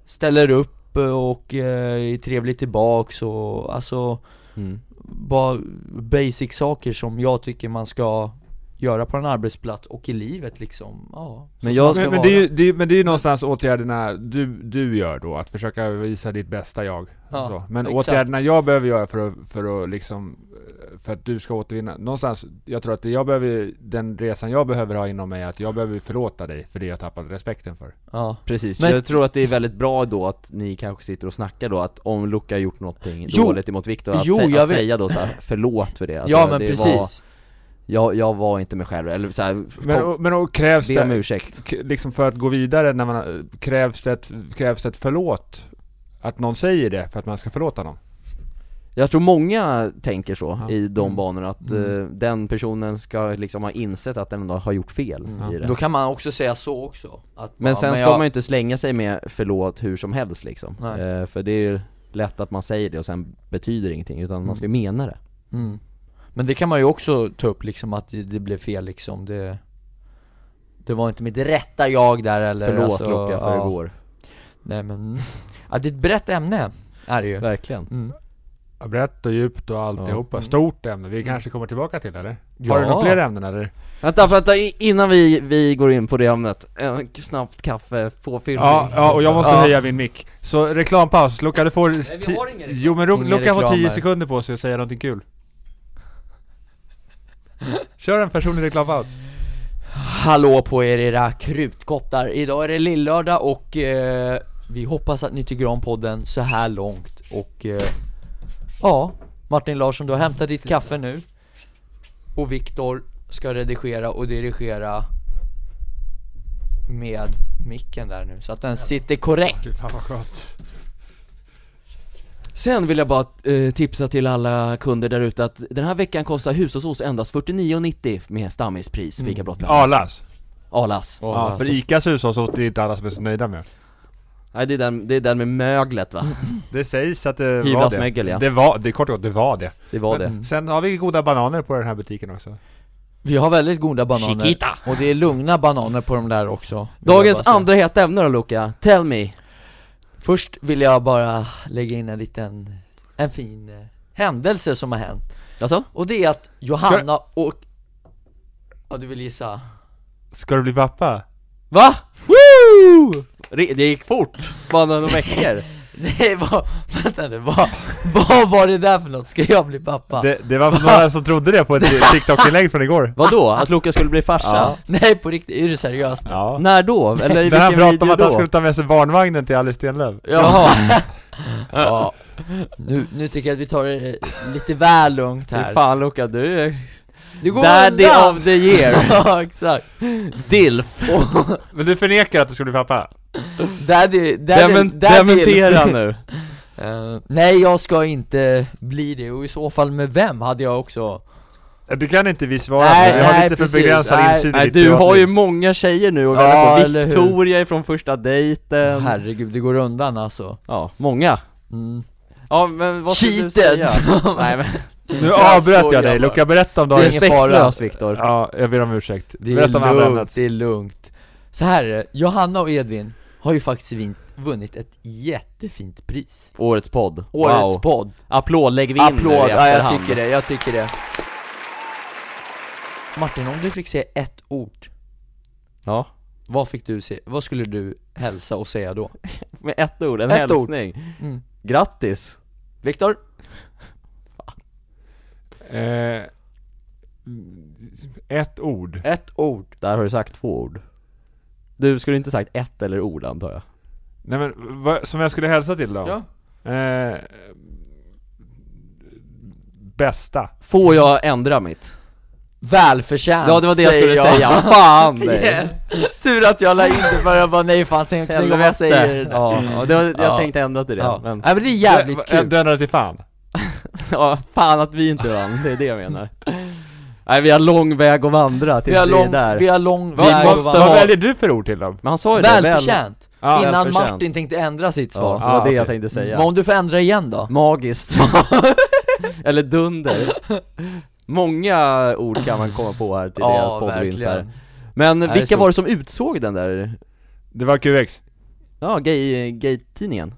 [SPEAKER 2] ställer upp och eh, är trevlig tillbaks och alltså
[SPEAKER 1] Mm.
[SPEAKER 2] bara basic saker som jag tycker man ska göra på en arbetsplats och i livet liksom, ja så
[SPEAKER 1] Men jag
[SPEAKER 2] ska
[SPEAKER 3] Men, men,
[SPEAKER 2] vara.
[SPEAKER 3] det är ju, det är, men det är ju någonstans åtgärderna du, du gör då, att försöka visa ditt bästa jag.
[SPEAKER 2] Ja,
[SPEAKER 3] och så. Men
[SPEAKER 2] exakt.
[SPEAKER 3] åtgärderna jag behöver göra för att, för att liksom för att du ska återvinna. Någonstans, jag tror att det jag behöver, den resan jag behöver ha inom mig är att jag behöver förlåta dig för det jag tappade respekten för.
[SPEAKER 2] Ja.
[SPEAKER 1] Precis,
[SPEAKER 2] Men-
[SPEAKER 1] jag tror att det är väldigt bra då att ni kanske sitter och snackar då att om Luca har gjort någonting
[SPEAKER 2] Jo.
[SPEAKER 1] dåligt emot Viktor, att,
[SPEAKER 2] Jo,
[SPEAKER 1] sä-
[SPEAKER 2] jag
[SPEAKER 1] att
[SPEAKER 2] vet.
[SPEAKER 1] säga då så här, förlåt för det Alltså,
[SPEAKER 2] ja men
[SPEAKER 1] det
[SPEAKER 2] precis.
[SPEAKER 1] var, jag, jag var inte mig själv, eller så här,
[SPEAKER 3] Men,
[SPEAKER 1] kom,
[SPEAKER 3] och, men och krävs
[SPEAKER 1] be om
[SPEAKER 3] det,
[SPEAKER 1] ursäkt
[SPEAKER 3] k- liksom för att gå vidare, när man, krävs, det ett, krävs det ett förlåt? Att någon säger det för att man ska förlåta någon?
[SPEAKER 1] Jag tror många tänker så
[SPEAKER 3] Ja.
[SPEAKER 1] i de
[SPEAKER 2] Mm.
[SPEAKER 1] banorna, att
[SPEAKER 2] Mm.
[SPEAKER 1] eh, den personen ska liksom ha insett att den ändå har gjort fel
[SPEAKER 3] Mm.
[SPEAKER 1] i det
[SPEAKER 2] Då kan man också säga så också. Att
[SPEAKER 1] Men
[SPEAKER 2] bara,
[SPEAKER 1] sen ska
[SPEAKER 2] jag-
[SPEAKER 1] man ju inte slänga sig med förlåt hur som helst liksom,
[SPEAKER 2] Nej.
[SPEAKER 1] eh, för det är ju lätt att man säger det och sen betyder det ingenting, utan man ska ju mena det
[SPEAKER 2] Mm. Men det kan man ju också ta upp liksom att det, det blev fel liksom, det Det var inte mitt rätta jag där eller
[SPEAKER 1] Förlåt
[SPEAKER 2] alltså,
[SPEAKER 1] Luca för
[SPEAKER 2] ja.
[SPEAKER 1] igår,
[SPEAKER 2] Nej men, [LAUGHS] ja det är ett brett ämne, är det ju
[SPEAKER 1] verkligen
[SPEAKER 2] mm.
[SPEAKER 3] Ja, Brett och djupt och alltihopa.
[SPEAKER 2] Mm.
[SPEAKER 3] Stort ämne. Vi kanske kommer tillbaka till det eller? Har du några fler ämnen eller?
[SPEAKER 1] Vänta, vänta, i- innan vi, vi går in på det ämnet, en snabbt kaffe, påfyllning
[SPEAKER 3] Ja, ja, och jag måste
[SPEAKER 2] Ja.
[SPEAKER 3] höja min mick. Så reklampaus. Luca, du får...
[SPEAKER 1] vi har ingen reklam.
[SPEAKER 3] jo men
[SPEAKER 2] Ingen
[SPEAKER 3] Ru- Luca får
[SPEAKER 2] reklam
[SPEAKER 3] 10
[SPEAKER 2] här.
[SPEAKER 3] sekunder på sig att säga någonting kul. Kör en personlig reklampaus.
[SPEAKER 2] Hallå på er era krutgottar! Idag är det lillördag och eh, vi hoppas att ni tycker om podden så här långt och eh, ja, Martin Larsson du har hämtat ditt kaffe nu och Viktor ska redigera och dirigera med micken där nu så att den sitter korrekt.
[SPEAKER 3] Fy fan vad skönt.
[SPEAKER 1] Sen vill jag bara eh, tipsa till alla kunder där ute att den här veckan kostar hushållsost endast 49,90 med stammispris, Fika Brottland.
[SPEAKER 3] Alas.
[SPEAKER 1] Alas.
[SPEAKER 3] Mm. Ja, för Icas hushållsost är inte alla som är så nöjda med.
[SPEAKER 1] Nej det är den, det är den med möglet
[SPEAKER 3] Mm.
[SPEAKER 1] va?
[SPEAKER 3] Det sägs att det var
[SPEAKER 1] Hyvlas
[SPEAKER 3] det.
[SPEAKER 1] mögel, ja.
[SPEAKER 3] Det var, det är kort och gott, det var det.
[SPEAKER 1] Det var det.
[SPEAKER 3] Men Sen har vi goda bananer på den här butiken också.
[SPEAKER 2] Vi har väldigt goda bananer
[SPEAKER 1] Chiquita.
[SPEAKER 2] och det är lugna bananer på de där också. vill jag
[SPEAKER 1] Dagens
[SPEAKER 2] bara säga.
[SPEAKER 1] andra heta ämne då Luca, tell me.
[SPEAKER 2] Först vill jag bara lägga in en liten, en fin eh, händelse som har hänt
[SPEAKER 1] Alltså?
[SPEAKER 2] Och det är att Johanna och... Ja du vill gissa? [LAUGHS]
[SPEAKER 3] Ska du bli pappa?
[SPEAKER 1] Va? Woo! Re- det gick fort, bara några veckor.
[SPEAKER 2] Nej vad, vänta nu, vad, vad var det där för något? Ska jag bli pappa?
[SPEAKER 3] Det, det var
[SPEAKER 1] [LAUGHS]
[SPEAKER 3] några som trodde det på ett TikTok-inlägg från igår.
[SPEAKER 1] Vadå? Att Luca skulle bli farsa?
[SPEAKER 2] Ja. Nej på riktigt, är du seriös?
[SPEAKER 3] Ja.
[SPEAKER 1] När då? Eller i
[SPEAKER 3] Den här
[SPEAKER 1] vilken
[SPEAKER 3] pratade om
[SPEAKER 1] video
[SPEAKER 3] att han
[SPEAKER 1] då?
[SPEAKER 3] skulle ta med sig barnvagnen till Alice Stenlöf.
[SPEAKER 2] Jaha Ja, nu, nu tycker jag att vi tar det lite väl lugnt
[SPEAKER 1] Fy
[SPEAKER 2] här
[SPEAKER 1] fan Luca, du är
[SPEAKER 2] Du går
[SPEAKER 1] daddy
[SPEAKER 2] undan!
[SPEAKER 1] of the year.
[SPEAKER 2] [LAUGHS] Ja exakt,
[SPEAKER 1] Dilf.
[SPEAKER 2] och
[SPEAKER 3] Men du förnekar att du skulle bli pappa?
[SPEAKER 2] daddy, daddy,
[SPEAKER 1] Demen-
[SPEAKER 2] daddy
[SPEAKER 1] Dementera nu.
[SPEAKER 2] [LAUGHS] Eh, Nej jag ska inte bli det, och i så fall med vem hade jag också
[SPEAKER 3] Det kan inte vi svara
[SPEAKER 2] Nej,
[SPEAKER 3] på, vi har
[SPEAKER 2] nej,
[SPEAKER 3] lite för
[SPEAKER 2] precis.
[SPEAKER 3] begränsad
[SPEAKER 2] Nej,
[SPEAKER 3] insyn i
[SPEAKER 1] Nej
[SPEAKER 3] ditt
[SPEAKER 1] du har ju
[SPEAKER 3] privatliv.
[SPEAKER 1] många tjejer nu och
[SPEAKER 2] Ja,
[SPEAKER 1] ja,
[SPEAKER 2] eller hur?
[SPEAKER 1] Victoria ifrån första dejten
[SPEAKER 2] Herregud, det går undan alltså
[SPEAKER 1] Ja, många
[SPEAKER 2] mm.
[SPEAKER 1] Ja men vad skulle du
[SPEAKER 2] Cheated!
[SPEAKER 1] säga?
[SPEAKER 2] [LAUGHS]
[SPEAKER 1] Nej men,
[SPEAKER 3] Nu
[SPEAKER 2] Jag
[SPEAKER 3] avbröt
[SPEAKER 2] skojar
[SPEAKER 3] jag dig,
[SPEAKER 2] bara.
[SPEAKER 3] Luca berätta om dagens...
[SPEAKER 2] ingen fara.
[SPEAKER 1] respektlöst Viktor
[SPEAKER 3] Ja, jag ber om ursäkt.
[SPEAKER 2] Det
[SPEAKER 3] Berätta om
[SPEAKER 2] är
[SPEAKER 3] andra
[SPEAKER 2] lugnt,
[SPEAKER 3] ämnet.
[SPEAKER 2] det är lugnt Så här är det, Johanna och Edvin har ju faktiskt vin- vunnit ett jättefint pris
[SPEAKER 1] Årets podd,
[SPEAKER 2] Årets
[SPEAKER 1] wow.
[SPEAKER 2] podd
[SPEAKER 1] Applåd lägger vi in nu i
[SPEAKER 2] Applåd, ja jag
[SPEAKER 1] efterhand.
[SPEAKER 2] tycker det, jag tycker det Martin, om du fick säga ett ord,
[SPEAKER 1] Ja,
[SPEAKER 2] vad fick du se, vad skulle du hälsa och säga då?
[SPEAKER 1] med ett ord, en
[SPEAKER 2] Ett ord.
[SPEAKER 1] hälsning
[SPEAKER 2] Mm.
[SPEAKER 1] Grattis!
[SPEAKER 2] Viktor?
[SPEAKER 3] Eh, ett ord.
[SPEAKER 2] Ett ord
[SPEAKER 1] Där har du sagt två ord Du skulle inte sagt ett eller ord antar jag
[SPEAKER 3] Nej men, vad, som jag skulle hälsa till då? Eh, bästa.
[SPEAKER 1] Får jag ändra mitt?
[SPEAKER 2] Välförtjänt
[SPEAKER 1] Ja det var det jag
[SPEAKER 2] säger
[SPEAKER 1] skulle säga, fan
[SPEAKER 2] [LAUGHS] Yes. Tur att jag la in det för jag bara nej fan tänk tänk om jag säger det
[SPEAKER 1] Helvete!
[SPEAKER 2] där.
[SPEAKER 1] Ja, ja, det var, jag
[SPEAKER 2] Ja.
[SPEAKER 1] tänkte ändra till det
[SPEAKER 2] Ja.
[SPEAKER 1] men
[SPEAKER 2] Ja, men det är jävligt
[SPEAKER 3] Eh,
[SPEAKER 2] kul
[SPEAKER 3] Du ändrade till fan.
[SPEAKER 1] Ja, fan att vi inte vann, det är det jag menar Nej vi har lång väg att vandra tills
[SPEAKER 2] Vi har lång,
[SPEAKER 1] där
[SPEAKER 2] vi har lång
[SPEAKER 1] Vad-
[SPEAKER 2] väg
[SPEAKER 1] vad-
[SPEAKER 2] att
[SPEAKER 1] måste
[SPEAKER 3] Vad
[SPEAKER 1] ha-
[SPEAKER 2] vandra.
[SPEAKER 3] väljer du för ord till dem?
[SPEAKER 1] Men han sa ju det, väl,
[SPEAKER 2] Välförtjänt!
[SPEAKER 3] Ja.
[SPEAKER 2] Innan
[SPEAKER 1] Välförtjänt.
[SPEAKER 2] Martin tänkte ändra sitt
[SPEAKER 1] Ja,
[SPEAKER 2] svar.
[SPEAKER 1] det var det
[SPEAKER 3] Ah,
[SPEAKER 1] jag
[SPEAKER 3] okej.
[SPEAKER 1] tänkte
[SPEAKER 2] Men
[SPEAKER 1] säga
[SPEAKER 2] om du får ändra igen då? [LAUGHS]
[SPEAKER 1] Magiskt Eller dunder Många ord kan man komma på här till deras poddvinst här Men
[SPEAKER 2] det är
[SPEAKER 1] vilka
[SPEAKER 2] stort.
[SPEAKER 1] var det som utsåg den där,
[SPEAKER 3] Det var QX.
[SPEAKER 1] ja, gay, gay-tidningen?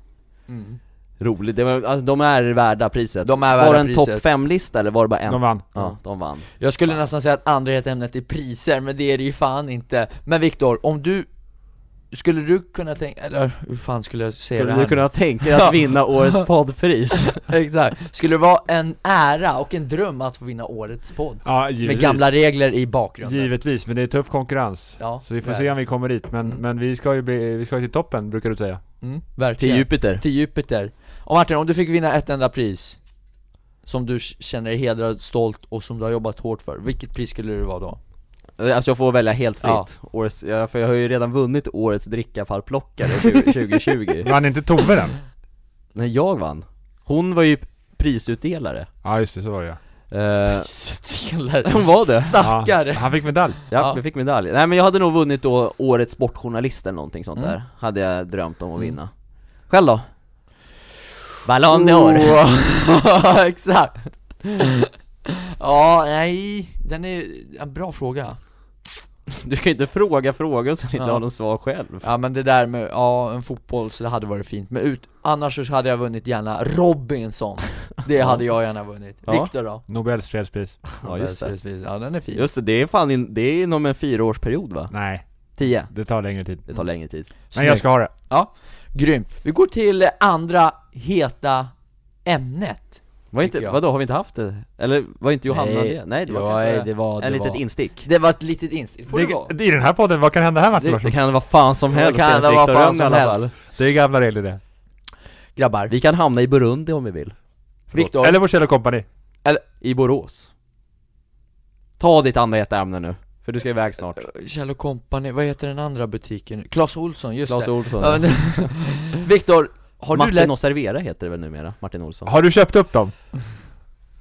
[SPEAKER 2] Mm.
[SPEAKER 1] Roligt, det var, alltså, de är värda priset
[SPEAKER 2] De är
[SPEAKER 1] Var
[SPEAKER 2] värda
[SPEAKER 1] det en
[SPEAKER 2] priset.
[SPEAKER 1] topp 5-lista eller var det bara en?
[SPEAKER 3] De vann.
[SPEAKER 1] Ja, de vann
[SPEAKER 2] Jag skulle nästan säga att andra heta ämnet är priser, men det är det ju fan inte. Men Viktor, om du Skulle du kunna tänka, eller hur fan skulle jag säga
[SPEAKER 1] Skulle
[SPEAKER 2] det här
[SPEAKER 1] du
[SPEAKER 2] nu?
[SPEAKER 1] kunna tänka dig att vinna [LAUGHS] årets poddpris?
[SPEAKER 2] [LAUGHS] Exakt, skulle det vara en ära och en dröm att få vinna årets podd?
[SPEAKER 3] Ja, givetvis.
[SPEAKER 2] Med gamla regler i bakgrunden
[SPEAKER 3] Givetvis, men det är tuff konkurrens.
[SPEAKER 2] Ja,
[SPEAKER 3] Så vi får
[SPEAKER 2] det Mm. är
[SPEAKER 3] se om vi kommer dit, men, men vi ska ju bli, vi ska ju till toppen brukar du säga.
[SPEAKER 2] det. mm,
[SPEAKER 1] Till
[SPEAKER 2] Verkligen
[SPEAKER 1] Jupiter
[SPEAKER 2] Till Jupiter Och Martin, om du fick vinna ett enda pris Som du k- känner dig hedrad, stolt och som du har jobbat hårt för, vilket pris skulle det vara då?
[SPEAKER 1] Alltså jag får välja helt fritt,
[SPEAKER 2] Ja.
[SPEAKER 1] årets, ja, för jag har ju redan vunnit årets drickaparplockare 20- [LAUGHS] 2020
[SPEAKER 3] Vann inte
[SPEAKER 2] [LAUGHS]
[SPEAKER 3] Tove den?
[SPEAKER 1] Nej jag vann, hon var ju prisutdelare
[SPEAKER 3] Ja just det, så var det ja.
[SPEAKER 1] Eh,
[SPEAKER 2] Prisutdelare
[SPEAKER 1] Hon [LAUGHS] var det.
[SPEAKER 2] Stackare!
[SPEAKER 3] ja. Han fick medalj.
[SPEAKER 1] Ja,
[SPEAKER 2] Ja.
[SPEAKER 1] jag fick medalj. Nej men jag hade nog vunnit då årets sportjournalist eller någonting sånt
[SPEAKER 2] Mm.
[SPEAKER 1] där, hade jag drömt om att vinna Själv då? Ballon d'Or!
[SPEAKER 2] [LAUGHS] Åh, Exakt! Ja, nej, den är en bra fråga
[SPEAKER 1] [LAUGHS] Du kan ju inte fråga frågor och sen inte
[SPEAKER 2] Ja.
[SPEAKER 1] ha någon svar själv
[SPEAKER 2] Ja men det där med, ja en fotboll så det hade varit fint, men ut, annars så hade jag vunnit gärna Robinson Det hade jag gärna vunnit,
[SPEAKER 1] Ja.
[SPEAKER 2] Viktor då?
[SPEAKER 3] Nobels fredspris.
[SPEAKER 1] Ja, just det.
[SPEAKER 2] Ja den är fin
[SPEAKER 1] Just det, det är fan in, det är inom en fyraårsperiod va?
[SPEAKER 3] Nej,
[SPEAKER 1] Tio?
[SPEAKER 3] det tar längre tid.
[SPEAKER 1] Det
[SPEAKER 2] Mm.
[SPEAKER 1] tar längre tid
[SPEAKER 3] Men jag ska ha det.
[SPEAKER 2] Ja, grymt. Vi går till andra heta ämnet.
[SPEAKER 1] Var
[SPEAKER 2] Tycker
[SPEAKER 1] inte,
[SPEAKER 2] jag.
[SPEAKER 1] vadå, har vi inte haft det? Eller var inte Johanna det? Nej det var
[SPEAKER 2] ja,
[SPEAKER 1] kanske
[SPEAKER 2] det var, det
[SPEAKER 1] en litet
[SPEAKER 2] var.
[SPEAKER 1] instick
[SPEAKER 2] [LAUGHS] Det var ett litet instick, får det, vara.
[SPEAKER 3] Det, I den här podden, vad kan hända här Martin
[SPEAKER 2] Det-
[SPEAKER 1] Det
[SPEAKER 3] Larsson?
[SPEAKER 1] kan vara fan som
[SPEAKER 2] Det
[SPEAKER 1] helst
[SPEAKER 2] kan
[SPEAKER 1] enligt
[SPEAKER 2] vara
[SPEAKER 1] Viktor
[SPEAKER 2] fan
[SPEAKER 1] Rönn i
[SPEAKER 2] som
[SPEAKER 1] alla
[SPEAKER 2] helst.
[SPEAKER 1] fall.
[SPEAKER 3] Det är gamla regler det.
[SPEAKER 2] Grabbar,
[SPEAKER 1] Vi kan hamna i Burundi om vi vill
[SPEAKER 2] Viktor,
[SPEAKER 3] Eller vår kompani.
[SPEAKER 1] I Borås Ta ditt andra heta ämne nu, för du ska iväg
[SPEAKER 2] Äh,
[SPEAKER 1] snart
[SPEAKER 2] Kjell Company, vad heter den andra butiken? Clas Olsson, just
[SPEAKER 1] Claes
[SPEAKER 2] det.
[SPEAKER 1] Olsson
[SPEAKER 2] Ja, men- [LAUGHS] Viktor, har du
[SPEAKER 1] Martin
[SPEAKER 2] lätt...
[SPEAKER 1] och Servera heter det väl numera, Martin Olsson?
[SPEAKER 3] Har du köpt upp dem?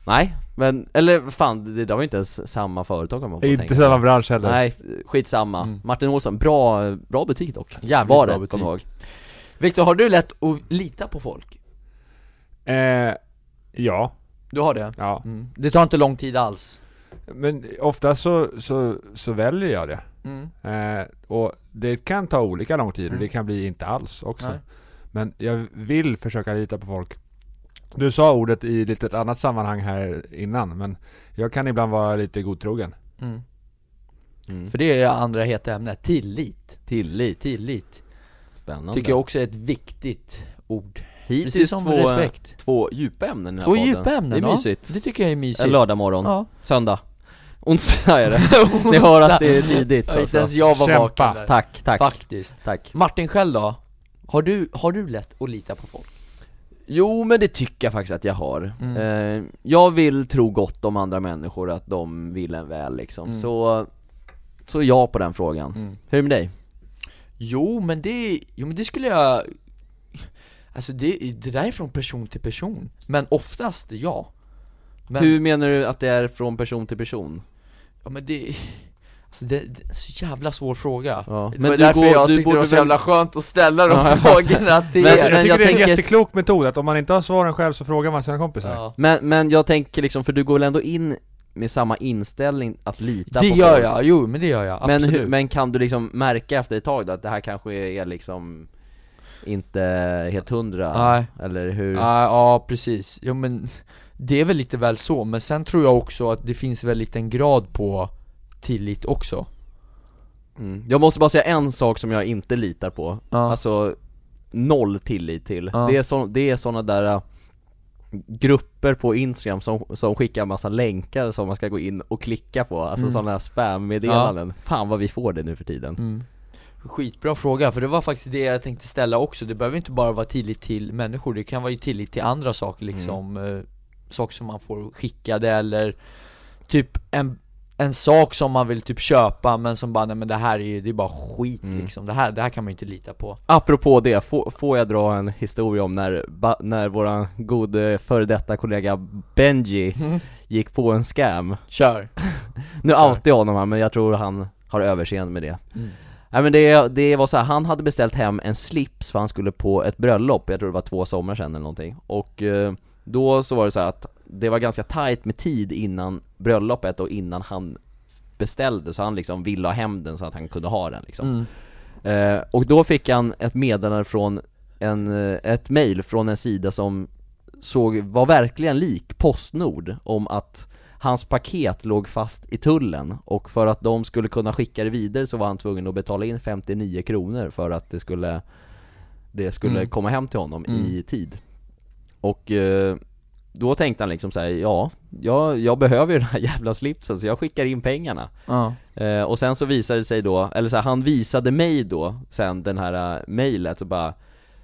[SPEAKER 1] Nej, men, eller fan, det där var ju inte ens samma företag om man får
[SPEAKER 3] Inte
[SPEAKER 1] tänka
[SPEAKER 3] samma bransch heller.
[SPEAKER 1] Nej, skitsamma.
[SPEAKER 2] Mm.
[SPEAKER 1] Martin Olsson, bra, bra butik dock
[SPEAKER 2] Jävligt
[SPEAKER 1] Var
[SPEAKER 2] bra
[SPEAKER 1] det,
[SPEAKER 2] butik.
[SPEAKER 1] kom ihåg
[SPEAKER 2] Viktor, har du lätt att lita på folk?
[SPEAKER 3] Eh, ja,
[SPEAKER 2] Du har det?
[SPEAKER 3] ja.
[SPEAKER 2] Mm. Det tar inte lång tid alls.
[SPEAKER 3] Men ofta så, så, så väljer jag det.
[SPEAKER 2] Mm.
[SPEAKER 3] Eh, och det kan ta olika lång tid och
[SPEAKER 2] Mm.
[SPEAKER 3] det kan bli inte alls också.
[SPEAKER 2] Nej.
[SPEAKER 3] Men jag vill försöka lita på folk. Du sa ordet i lite ett annat sammanhang här innan, men jag kan ibland vara lite godtrogen.
[SPEAKER 2] Mm.
[SPEAKER 1] mm.
[SPEAKER 2] För det är andra heta ämnet, tillit.
[SPEAKER 1] Tillit,
[SPEAKER 2] Tillit.
[SPEAKER 1] spännande
[SPEAKER 2] Tycker jag också är ett viktigt ord.
[SPEAKER 1] Hittills
[SPEAKER 2] Precis som
[SPEAKER 1] två,
[SPEAKER 2] respekt.
[SPEAKER 1] två djupa ämnen i den här
[SPEAKER 2] eh, Två
[SPEAKER 1] podden.
[SPEAKER 2] djupa ämnen,
[SPEAKER 1] Det är
[SPEAKER 2] ja.
[SPEAKER 1] mysigt
[SPEAKER 2] Det tycker jag är mysigt.
[SPEAKER 1] En lördag morgon,
[SPEAKER 2] Ja.
[SPEAKER 1] söndag Onsdag är
[SPEAKER 2] [LAUGHS]
[SPEAKER 1] det, ni hör att det är tidigt
[SPEAKER 2] Ja, Inte
[SPEAKER 1] alltså.
[SPEAKER 2] ens jag var
[SPEAKER 3] Kämpa.
[SPEAKER 2] vaken där.
[SPEAKER 1] Tack, tack,
[SPEAKER 2] Faktiskt.
[SPEAKER 1] tack
[SPEAKER 2] Martin själv då? Har du, har du lätt att lita på folk?
[SPEAKER 1] Jo men det tycker jag faktiskt att jag har.
[SPEAKER 2] Mm.
[SPEAKER 1] Eh, jag vill tro gott om andra människor, att de vill en väl liksom.
[SPEAKER 2] Mm.
[SPEAKER 1] Så, så ja på den frågan.
[SPEAKER 2] Mm.
[SPEAKER 1] Hur är det med dig?
[SPEAKER 2] Jo men det, jo men det skulle jag Alltså det, det där är från person till person, men oftast ja Men,
[SPEAKER 1] Hur menar du att det är från person till person?
[SPEAKER 2] ja men det, alltså det, det är en så jävla svår fråga
[SPEAKER 1] Ja.
[SPEAKER 2] Det
[SPEAKER 1] Men
[SPEAKER 2] var
[SPEAKER 1] du
[SPEAKER 2] därför
[SPEAKER 1] går-
[SPEAKER 2] jag
[SPEAKER 1] du
[SPEAKER 2] tyckte det
[SPEAKER 1] borde
[SPEAKER 2] var så
[SPEAKER 1] väl-
[SPEAKER 2] jävla skönt att ställa de
[SPEAKER 1] Ja, jag fattar.
[SPEAKER 2] frågorna till
[SPEAKER 1] Men-
[SPEAKER 3] jag
[SPEAKER 2] er.
[SPEAKER 1] men
[SPEAKER 3] tycker
[SPEAKER 1] jag
[SPEAKER 3] det är
[SPEAKER 1] tänker-
[SPEAKER 3] en jätteklok metod att om man inte har svaren själv så frågar man sina kompisar.
[SPEAKER 2] Ja.
[SPEAKER 1] Men, men jag tänker liksom, för du går väl ändå in med samma inställning att lita
[SPEAKER 2] Det
[SPEAKER 1] på
[SPEAKER 2] gör
[SPEAKER 1] folk?
[SPEAKER 2] jag, jo men det gör jag,
[SPEAKER 1] Men,
[SPEAKER 2] absolut
[SPEAKER 1] hur, men kan du liksom märka efter ett tag då att det här kanske är liksom inte helt hundra?
[SPEAKER 2] Nej.
[SPEAKER 1] Eller hur?
[SPEAKER 2] Ja, ja precis. Jo men det är väl lite väl så, men sen tror jag också att det finns väl lite en grad på tillit också.
[SPEAKER 1] Mm. Jag måste bara säga en sak som jag inte litar på,
[SPEAKER 2] Ja.
[SPEAKER 1] alltså noll tillit till.
[SPEAKER 2] Ja.
[SPEAKER 1] Det, är så, det är såna där äh, grupper på instagram som, som skickar en massa länkar som man ska gå in och klicka på, alltså
[SPEAKER 2] Mm.
[SPEAKER 1] sådana här spammeddelanden. Fan vad vi får det nu för tiden.
[SPEAKER 2] Mm. Skitbra fråga, för det var faktiskt det jag tänkte ställa också. Det behöver inte bara vara tillit till människor, det kan vara ju tillit till andra saker liksom. Eh, saker som man får skickade eller typ en, en sak som man vill typ köpa men som bara, nej men det här är ju, det är bara skit
[SPEAKER 1] Mm.
[SPEAKER 2] liksom. Det här, det här kan man ju inte lita på.
[SPEAKER 1] Apropå det, får, får jag dra en historia om när, ba, när våran gode före detta kollega Benji gick på en scam?
[SPEAKER 2] Kör!
[SPEAKER 1] Nu outar jag honom här men jag tror han har överseende med det
[SPEAKER 2] Mm.
[SPEAKER 1] Nej men det, det var så här, han hade beställt hem en slips för han skulle på ett bröllop, jag tror det var två sommar sedan eller någonting Och eh, då så var det så här att det var ganska tight med tid innan bröllopet och innan han beställde så han liksom ville ha hem den så att han kunde ha den liksom
[SPEAKER 2] Mm.
[SPEAKER 1] Eh, och då fick han ett meddelande från en, eh, ett mail från en sida som såg, var verkligen lik Postnord om att Hans paket låg fast i tullen och för att de skulle kunna skicka det vidare så var han tvungen att betala in 59 kronor för att det skulle Det skulle
[SPEAKER 2] Mm.
[SPEAKER 1] komma hem till honom i
[SPEAKER 2] Mm.
[SPEAKER 1] tid Och eh, då tänkte han liksom såhär, ja, jag, jag behöver ju den här [LAUGHS] jävla slipsen så jag skickar in pengarna
[SPEAKER 2] Ja.
[SPEAKER 1] Eh, och sen så visade det sig då, eller så här, han visade mig då sen den här eh, mejlet och bara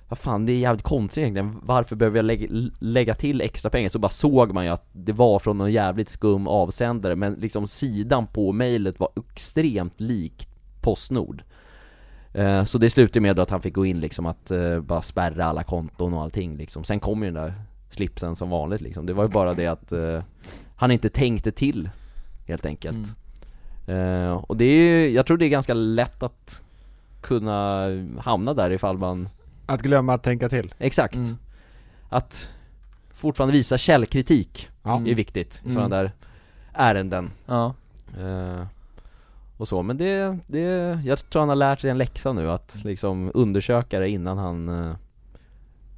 [SPEAKER 1] Vad fan det är jävligt konstigt egentligen, varför behöver jag lägga, lägga till extra pengar? Så bara såg man ju att det var från någon jävligt skum avsändare men liksom sidan på mejlet var extremt lik Postnord Eh, Så det slutade med då att han fick gå in liksom att eh, bara spärra alla konton och allting liksom Sen kom ju den där slipsen som vanligt liksom, det var ju bara det att eh, han inte tänkte till helt enkelt
[SPEAKER 2] Mm.
[SPEAKER 1] Eh, och det är ju, jag tror det är ganska lätt att kunna hamna där ifall man,
[SPEAKER 3] Att glömma att tänka till.
[SPEAKER 1] exakt,
[SPEAKER 2] Mm.
[SPEAKER 1] att fortfarande visa källkritik
[SPEAKER 3] Ja.
[SPEAKER 1] är viktigt i
[SPEAKER 2] Mm.
[SPEAKER 1] sådana där ärenden
[SPEAKER 2] Ja.
[SPEAKER 1] eh, och så, men det, det, jag tror han har lärt sig en läxa nu att liksom undersöka det innan han, eh,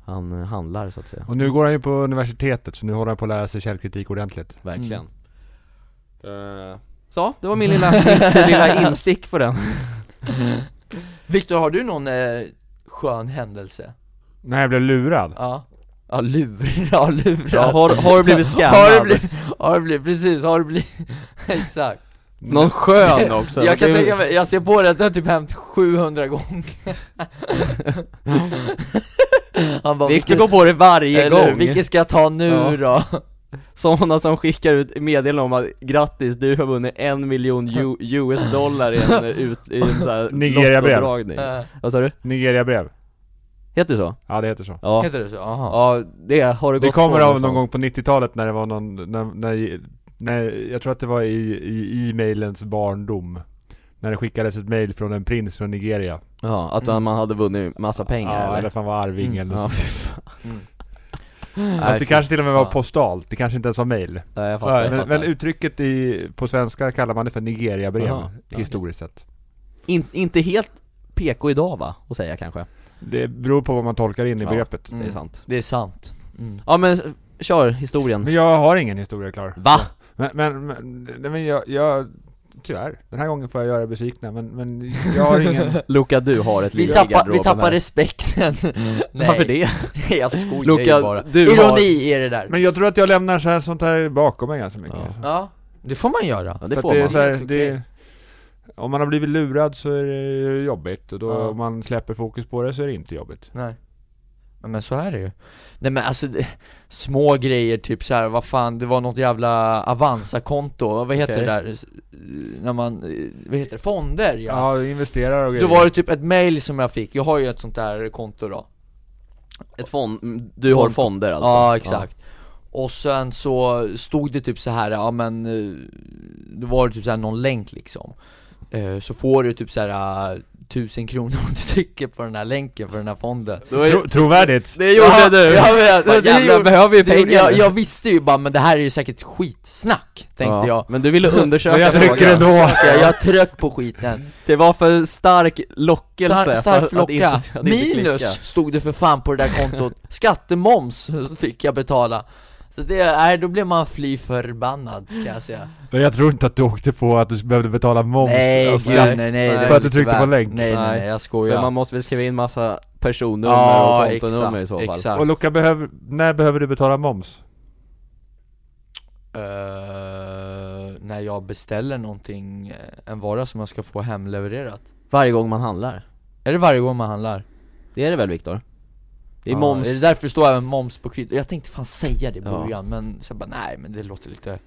[SPEAKER 1] han handlar så att säga,
[SPEAKER 2] Mm.
[SPEAKER 3] Och nu går han ju på universitetet så nu håller han på att lära sig källkritik ordentligt.
[SPEAKER 1] verkligen Eh, Så, det var min lilla, mitt lilla instick på den
[SPEAKER 2] Viktor, har du någon eh, skön händelse?
[SPEAKER 3] När jag blev lurad.
[SPEAKER 2] Ja. Ja, lur, [LAUGHS] ja, lurad.
[SPEAKER 1] ja, har, har du blivit skannad?
[SPEAKER 2] [LAUGHS] Har du blivit, har du blivit, precis, har du blivit, [LAUGHS] exakt
[SPEAKER 1] Någon skön också?
[SPEAKER 2] Jag kan
[SPEAKER 1] Typ. Det är-
[SPEAKER 2] tänka mig, jag ser på det att det har typ hänt 700 gånger [LAUGHS] Han bara,
[SPEAKER 1] Victor går på det varje
[SPEAKER 2] eller,
[SPEAKER 1] gång,
[SPEAKER 2] vilken ska jag ta nu
[SPEAKER 1] Ja.
[SPEAKER 2] då?
[SPEAKER 1] sådana som skickar ut meddelanden om att grattis, du har vunnit en miljon U- US dollar i
[SPEAKER 2] [LAUGHS]
[SPEAKER 1] en, eh, ut, i en så här
[SPEAKER 3] Nigeria-brev.
[SPEAKER 1] lottodragning.
[SPEAKER 2] Eh,
[SPEAKER 1] Vad sa du?
[SPEAKER 3] Nigeria-brev.
[SPEAKER 1] Heter det så?
[SPEAKER 3] Ja, det heter så.
[SPEAKER 1] Ja,
[SPEAKER 2] Heter det så? Aha.
[SPEAKER 1] ja det har det gått
[SPEAKER 3] Det kommer
[SPEAKER 1] på
[SPEAKER 3] av
[SPEAKER 1] med
[SPEAKER 3] någon
[SPEAKER 1] sånt.
[SPEAKER 3] gång på 90-talet när det var någon, när, när, när jag tror att det var i, i e-mailens barndom. När det skickades ett mail från en prins från Nigeria.
[SPEAKER 1] Ja, att
[SPEAKER 2] Mm.
[SPEAKER 1] man- man hade vunnit massa pengar
[SPEAKER 3] ja, eller
[SPEAKER 1] eller?
[SPEAKER 3] för han var arvinge eller
[SPEAKER 1] Ja,
[SPEAKER 3] något
[SPEAKER 1] fy fan.
[SPEAKER 2] Mm.
[SPEAKER 3] Fast det kanske till och med var
[SPEAKER 2] fan.
[SPEAKER 3] postalt, det kanske inte ens var mail.
[SPEAKER 1] Nej, jag fattar,
[SPEAKER 3] Ja,
[SPEAKER 1] jag
[SPEAKER 3] men,
[SPEAKER 1] fattar.
[SPEAKER 3] men uttrycket i, på svenska kallar man det för Nigeria-brev,
[SPEAKER 1] Jaha.
[SPEAKER 3] historiskt sett.
[SPEAKER 1] In, inte helt PK idag va, att säga kanske?
[SPEAKER 3] Det beror på vad man tolkar in i
[SPEAKER 1] Ja.
[SPEAKER 3] begreppet.
[SPEAKER 1] Det är
[SPEAKER 2] Mm.
[SPEAKER 1] sant
[SPEAKER 2] Det är sant mm.
[SPEAKER 1] Ja men, s- kör historien
[SPEAKER 3] Men jag har ingen historia klar.
[SPEAKER 1] Va?
[SPEAKER 3] Men, men, men, nej, men jag, jag, tyvärr, den här gången får jag göra er besvikna, men, men jag har
[SPEAKER 1] [LAUGHS]
[SPEAKER 3] ingen...
[SPEAKER 1] Luca du har ett liv
[SPEAKER 2] Vi
[SPEAKER 1] i
[SPEAKER 2] tappar, vi
[SPEAKER 1] garderoben
[SPEAKER 2] tappar
[SPEAKER 1] här.
[SPEAKER 2] respekten
[SPEAKER 1] [LAUGHS]
[SPEAKER 2] Nej,
[SPEAKER 1] Varför det?
[SPEAKER 2] Nej, [LAUGHS] jag skojar
[SPEAKER 1] Luca,
[SPEAKER 2] ju bara
[SPEAKER 1] du
[SPEAKER 2] Ironi
[SPEAKER 1] har...
[SPEAKER 2] är det där
[SPEAKER 3] Men jag tror att jag lämnar så här, sånt här bakom mig ganska mycket.
[SPEAKER 1] Ja.
[SPEAKER 2] Ja, det får man göra
[SPEAKER 1] Ja,
[SPEAKER 3] För
[SPEAKER 1] det
[SPEAKER 3] att
[SPEAKER 1] får
[SPEAKER 3] det
[SPEAKER 1] man
[SPEAKER 3] är så här,
[SPEAKER 2] Helt
[SPEAKER 3] det, Om man har blivit lurad så är det jobbigt, och då
[SPEAKER 2] Ja.
[SPEAKER 3] om man släpper fokus på det så är det inte jobbigt.
[SPEAKER 2] Nej Ja, Men så är det ju Nej men alltså, det, små grejer typ så här, vad fan, det var något jävla Avanza-konto, vad heter
[SPEAKER 1] Okej.
[SPEAKER 2] det där? S- När man, eh, vad heter det? Fonder ja!
[SPEAKER 3] Ja, investerar och
[SPEAKER 2] Då var det typ ett mail som jag fick, jag har ju ett sånt där konto då alltså.
[SPEAKER 1] Ett fond, du har
[SPEAKER 2] Fond-
[SPEAKER 1] fonder alltså?
[SPEAKER 2] Ja exakt Och sen så stod det typ så här, ja men eh, Då var det typ så här någon länk liksom Eh, Så får du typ så här eh, 1000 kronor om du trycker på den här länken för den här fonden
[SPEAKER 1] Då är-
[SPEAKER 3] Tro, trovärdigt!
[SPEAKER 1] Det gjorde
[SPEAKER 2] Ja,
[SPEAKER 1] du!
[SPEAKER 2] jag vet.
[SPEAKER 1] Vad
[SPEAKER 2] Det
[SPEAKER 1] jävlar,
[SPEAKER 2] gjorde-
[SPEAKER 1] behöver ju
[SPEAKER 2] Det gjorde
[SPEAKER 1] pengar
[SPEAKER 2] jag, jag visste ju bara, men det här är ju säkert skitsnack, tänkte [LAUGHS] jag
[SPEAKER 1] Men du ville undersöka
[SPEAKER 3] Men jag trycker
[SPEAKER 1] frågan.
[SPEAKER 3] ändå!
[SPEAKER 2] jag, jag tröck på
[SPEAKER 1] [LAUGHS]
[SPEAKER 2] skiten
[SPEAKER 1] Det var för stark lockelse
[SPEAKER 2] Star,
[SPEAKER 1] för
[SPEAKER 2] Stark
[SPEAKER 1] att
[SPEAKER 2] flocka,
[SPEAKER 1] inte- att inte klicka.
[SPEAKER 2] minus stod det för fan på det
[SPEAKER 1] [LAUGHS]
[SPEAKER 2] där kontot Skattemoms fick jag betala Så det, nej då blev man fly förbannad kan jag säga
[SPEAKER 3] Men jag tror inte att du åkte på att du behövde betala moms
[SPEAKER 2] Nej
[SPEAKER 3] Alltså,
[SPEAKER 2] gud, nej nej, det
[SPEAKER 1] För
[SPEAKER 2] var
[SPEAKER 3] att du
[SPEAKER 2] lite
[SPEAKER 3] tryckte på
[SPEAKER 2] väl-
[SPEAKER 3] länk.
[SPEAKER 2] Nej nej, nej jag
[SPEAKER 1] För
[SPEAKER 2] skojar
[SPEAKER 1] man måste väl skriva in massa personnummer och kontonummer i så fall
[SPEAKER 2] exakt
[SPEAKER 3] Och Luca, behöver, när behöver du betala moms?
[SPEAKER 2] Eh, När jag beställer någonting, eh, en vara som jag ska få hemlevererat
[SPEAKER 1] Varje gång man handlar
[SPEAKER 2] Är det varje gång man handlar?
[SPEAKER 1] Det är det väl Viktor? Det är
[SPEAKER 2] Ja,
[SPEAKER 1] moms
[SPEAKER 2] Det är därför det står även moms på kvittot. Jag tänkte fan säga det i
[SPEAKER 1] Ja.
[SPEAKER 2] början, men sen bara nej men det låter lite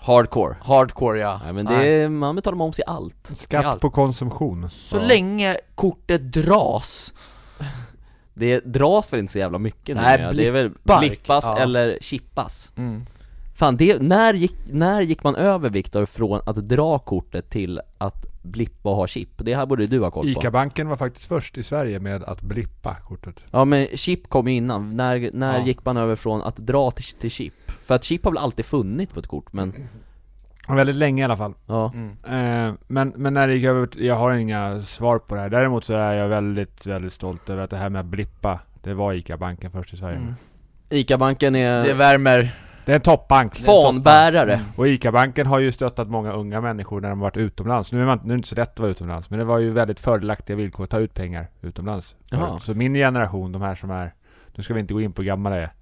[SPEAKER 1] hardcore
[SPEAKER 2] hardcore ja.
[SPEAKER 1] Nej men det är, man betalar moms i allt
[SPEAKER 3] Skatt
[SPEAKER 2] I allt.
[SPEAKER 3] på konsumtion
[SPEAKER 2] Så
[SPEAKER 1] Ja.
[SPEAKER 2] länge kortet dras.
[SPEAKER 1] Det dras väl inte så jävla mycket
[SPEAKER 2] Nej,
[SPEAKER 1] numera? Det är väl
[SPEAKER 2] blippar.
[SPEAKER 1] blippas
[SPEAKER 2] Ja.
[SPEAKER 1] eller chippas Fan det, när gick, när gick man över Viktor från att dra kortet till att blippa och ha chip? Det här borde du ha koll på
[SPEAKER 3] ICA-banken var faktiskt först i Sverige med att blippa kortet
[SPEAKER 1] Ja men chip kom ju innan, när, när
[SPEAKER 2] Ja.
[SPEAKER 1] gick man över från att dra till, till chip? För att chip har väl alltid funnits på ett kort men,
[SPEAKER 3] Väldigt länge i alla fall
[SPEAKER 1] ja
[SPEAKER 2] Mm.
[SPEAKER 3] eh, men, men när det gick över, jag har inga svar på det här Däremot så är jag väldigt, väldigt stolt över att det här med att blippa Det var ICA-banken först i Sverige
[SPEAKER 2] Mm.
[SPEAKER 1] ICA-banken är,
[SPEAKER 2] Det Mm, värmer.
[SPEAKER 3] Det är en toppbank.
[SPEAKER 1] Fanbärare.
[SPEAKER 3] Och ICA-banken har ju stöttat många unga människor när de varit utomlands. Nu är, man, nu är det inte så lätt att vara utomlands, men det var ju väldigt fördelaktiga villkor att ta ut pengar utomlands.
[SPEAKER 1] Jaha.
[SPEAKER 3] Så min generation, de här som är, nu ska vi inte gå in på hur gamla det är,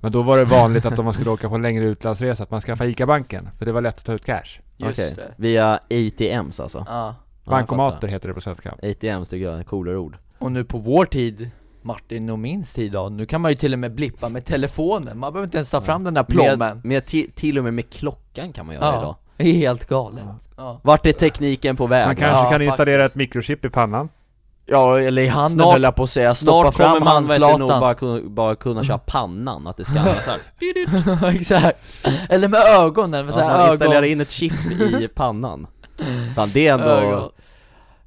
[SPEAKER 3] men då var det vanligt att om man skulle åka på en längre utlandsresa att man skaffade ICA-banken, för det var lätt att ta ut cash.
[SPEAKER 2] Just
[SPEAKER 1] Okej.
[SPEAKER 2] det.
[SPEAKER 1] Via ATMs alltså?
[SPEAKER 2] Ja.
[SPEAKER 1] Ja, jag
[SPEAKER 3] Bankomater
[SPEAKER 1] fattar.
[SPEAKER 3] heter det på svenska.
[SPEAKER 1] ATMs tycker jag är ett coolare ord
[SPEAKER 2] Och nu på vår tid, Martin och min tid då, nu kan man ju till och med blippa med telefonen, man behöver inte ens ta fram den där plommen
[SPEAKER 1] Med, med ti- till och med med klockan kan man göra idag
[SPEAKER 2] Ja, det är helt galet Ja,
[SPEAKER 1] Vart är tekniken på väg?
[SPEAKER 3] Man kanske
[SPEAKER 2] Ja,
[SPEAKER 3] kan
[SPEAKER 2] faktiskt.
[SPEAKER 3] installera ett mikrochip i pannan.
[SPEAKER 2] ja eller i handen
[SPEAKER 1] Snart-
[SPEAKER 2] höll jag på att säga, stoppa
[SPEAKER 1] Snart kommer
[SPEAKER 2] fram
[SPEAKER 1] man väl nog
[SPEAKER 2] handflatan
[SPEAKER 1] bara, kun- bara kunna köra pannan, att det skannas här
[SPEAKER 2] [LAUGHS] Exakt, eller med ögonen, med
[SPEAKER 1] Att
[SPEAKER 2] såhär
[SPEAKER 1] Alltså, man installerar
[SPEAKER 2] ögon
[SPEAKER 1] in ett chip
[SPEAKER 2] [LAUGHS]
[SPEAKER 1] i pannan Fan det är
[SPEAKER 2] Ögon.
[SPEAKER 1] ändå,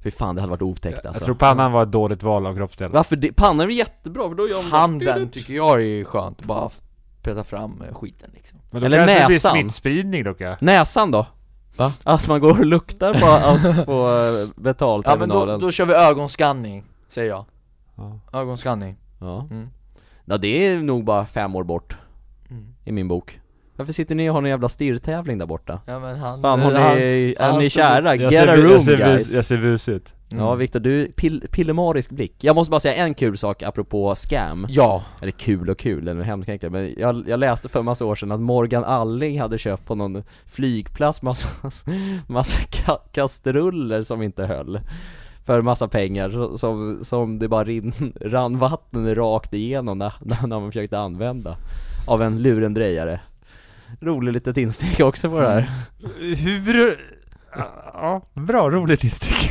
[SPEAKER 1] fy fan det hade varit otäckt
[SPEAKER 3] Jag
[SPEAKER 1] alltså
[SPEAKER 3] tror pannan var ett dåligt val av kroppsdel.
[SPEAKER 1] Varför det? Pannan är väl jättebra för då gör man bara-
[SPEAKER 2] Handen tycker jag är skönt, bara f- peta fram eh, skiten liksom
[SPEAKER 3] Men då
[SPEAKER 1] Eller
[SPEAKER 3] kanske det blir
[SPEAKER 1] näsan.
[SPEAKER 3] smittspridning dock ja.
[SPEAKER 1] Näsan då?
[SPEAKER 2] Va?
[SPEAKER 1] Att man går och luktar
[SPEAKER 2] [LAUGHS]
[SPEAKER 1] på, alltså, på eh,
[SPEAKER 2] Ja men då,
[SPEAKER 1] betalterminalen
[SPEAKER 2] då kör vi ögonskanning, säger jag
[SPEAKER 3] Ja.
[SPEAKER 2] Ögonskanning
[SPEAKER 1] Ja.
[SPEAKER 2] Mm.
[SPEAKER 1] ja, det är nog bara fem år bort
[SPEAKER 2] Mm.
[SPEAKER 1] I min bok Varför sitter ni och har en jävla stirrtävling där borta?
[SPEAKER 2] Ja men han,
[SPEAKER 1] Fan har ni,
[SPEAKER 2] Eh, han,
[SPEAKER 1] är
[SPEAKER 2] han
[SPEAKER 1] ni
[SPEAKER 2] stod-
[SPEAKER 1] kära?
[SPEAKER 3] Jag
[SPEAKER 1] Get
[SPEAKER 3] ser,
[SPEAKER 1] a
[SPEAKER 3] bu-
[SPEAKER 1] room
[SPEAKER 3] jag ser,
[SPEAKER 1] guys!
[SPEAKER 3] bus, jag ser bus ut.
[SPEAKER 2] Mm.
[SPEAKER 1] Ja Viktor, du, pil, pillemarisk blick. Jag måste bara säga en kul sak apropå scam,
[SPEAKER 2] Ja,
[SPEAKER 1] eller kul och kul, den är hemskt egentligen, men jag, jag läste för en massa år sedan att Morgan Alling hade köpt på någon flygplats massa, [LAUGHS] massa ka, kastruller som inte höll för massa pengar så- som, som det bara rin, [LAUGHS] rann vatten rakt igenom när, [LAUGHS] när man försökte använda av en lurendrejare. Roligt litet instick också på det här.
[SPEAKER 3] Hur... eh, Ja, bra, roligt instick.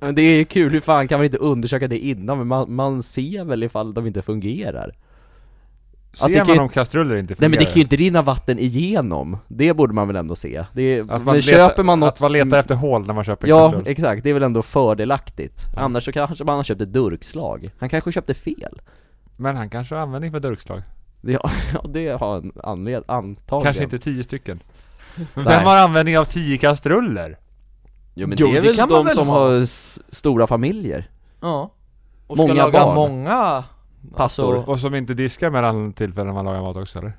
[SPEAKER 1] Men det är ju kul, hur fan kan man inte undersöka det innan? Men man, man ser väl ifall de inte fungerar?
[SPEAKER 3] Ser
[SPEAKER 1] det kan
[SPEAKER 3] man
[SPEAKER 1] ju-
[SPEAKER 3] om kastruller inte
[SPEAKER 1] Nej
[SPEAKER 3] fungerar?
[SPEAKER 1] men det kan ju inte rinna vatten igenom, det borde man väl ändå se? Det är,
[SPEAKER 3] Att
[SPEAKER 1] men
[SPEAKER 3] man
[SPEAKER 1] köper man något mm,
[SPEAKER 3] Att man letar efter hål när man köper en
[SPEAKER 1] Ja,
[SPEAKER 3] kastrull.
[SPEAKER 1] exakt, det är väl ändå fördelaktigt. Annars så kanske man har köpt ett durkslag. Han kanske köpte fel. [LAUGHS]
[SPEAKER 3] Men han kanske har användning för durkslag.
[SPEAKER 1] Ja, ja, det har han anled- antagligen.
[SPEAKER 3] Kanske inte tio stycken. Men
[SPEAKER 1] Nej.
[SPEAKER 3] vem har användning av tio kastruller?
[SPEAKER 1] Jo men
[SPEAKER 2] Jo,
[SPEAKER 1] det är
[SPEAKER 2] det
[SPEAKER 1] väl
[SPEAKER 2] kan man
[SPEAKER 1] de
[SPEAKER 2] väl
[SPEAKER 1] som
[SPEAKER 2] ha.
[SPEAKER 1] har s- stora familjer?
[SPEAKER 2] ja Och
[SPEAKER 1] Många
[SPEAKER 2] ska laga
[SPEAKER 1] barn.
[SPEAKER 2] många
[SPEAKER 1] Pastor.
[SPEAKER 2] Alltså,
[SPEAKER 3] Och som inte diskar mellan tillfällen man lagar mat också eller?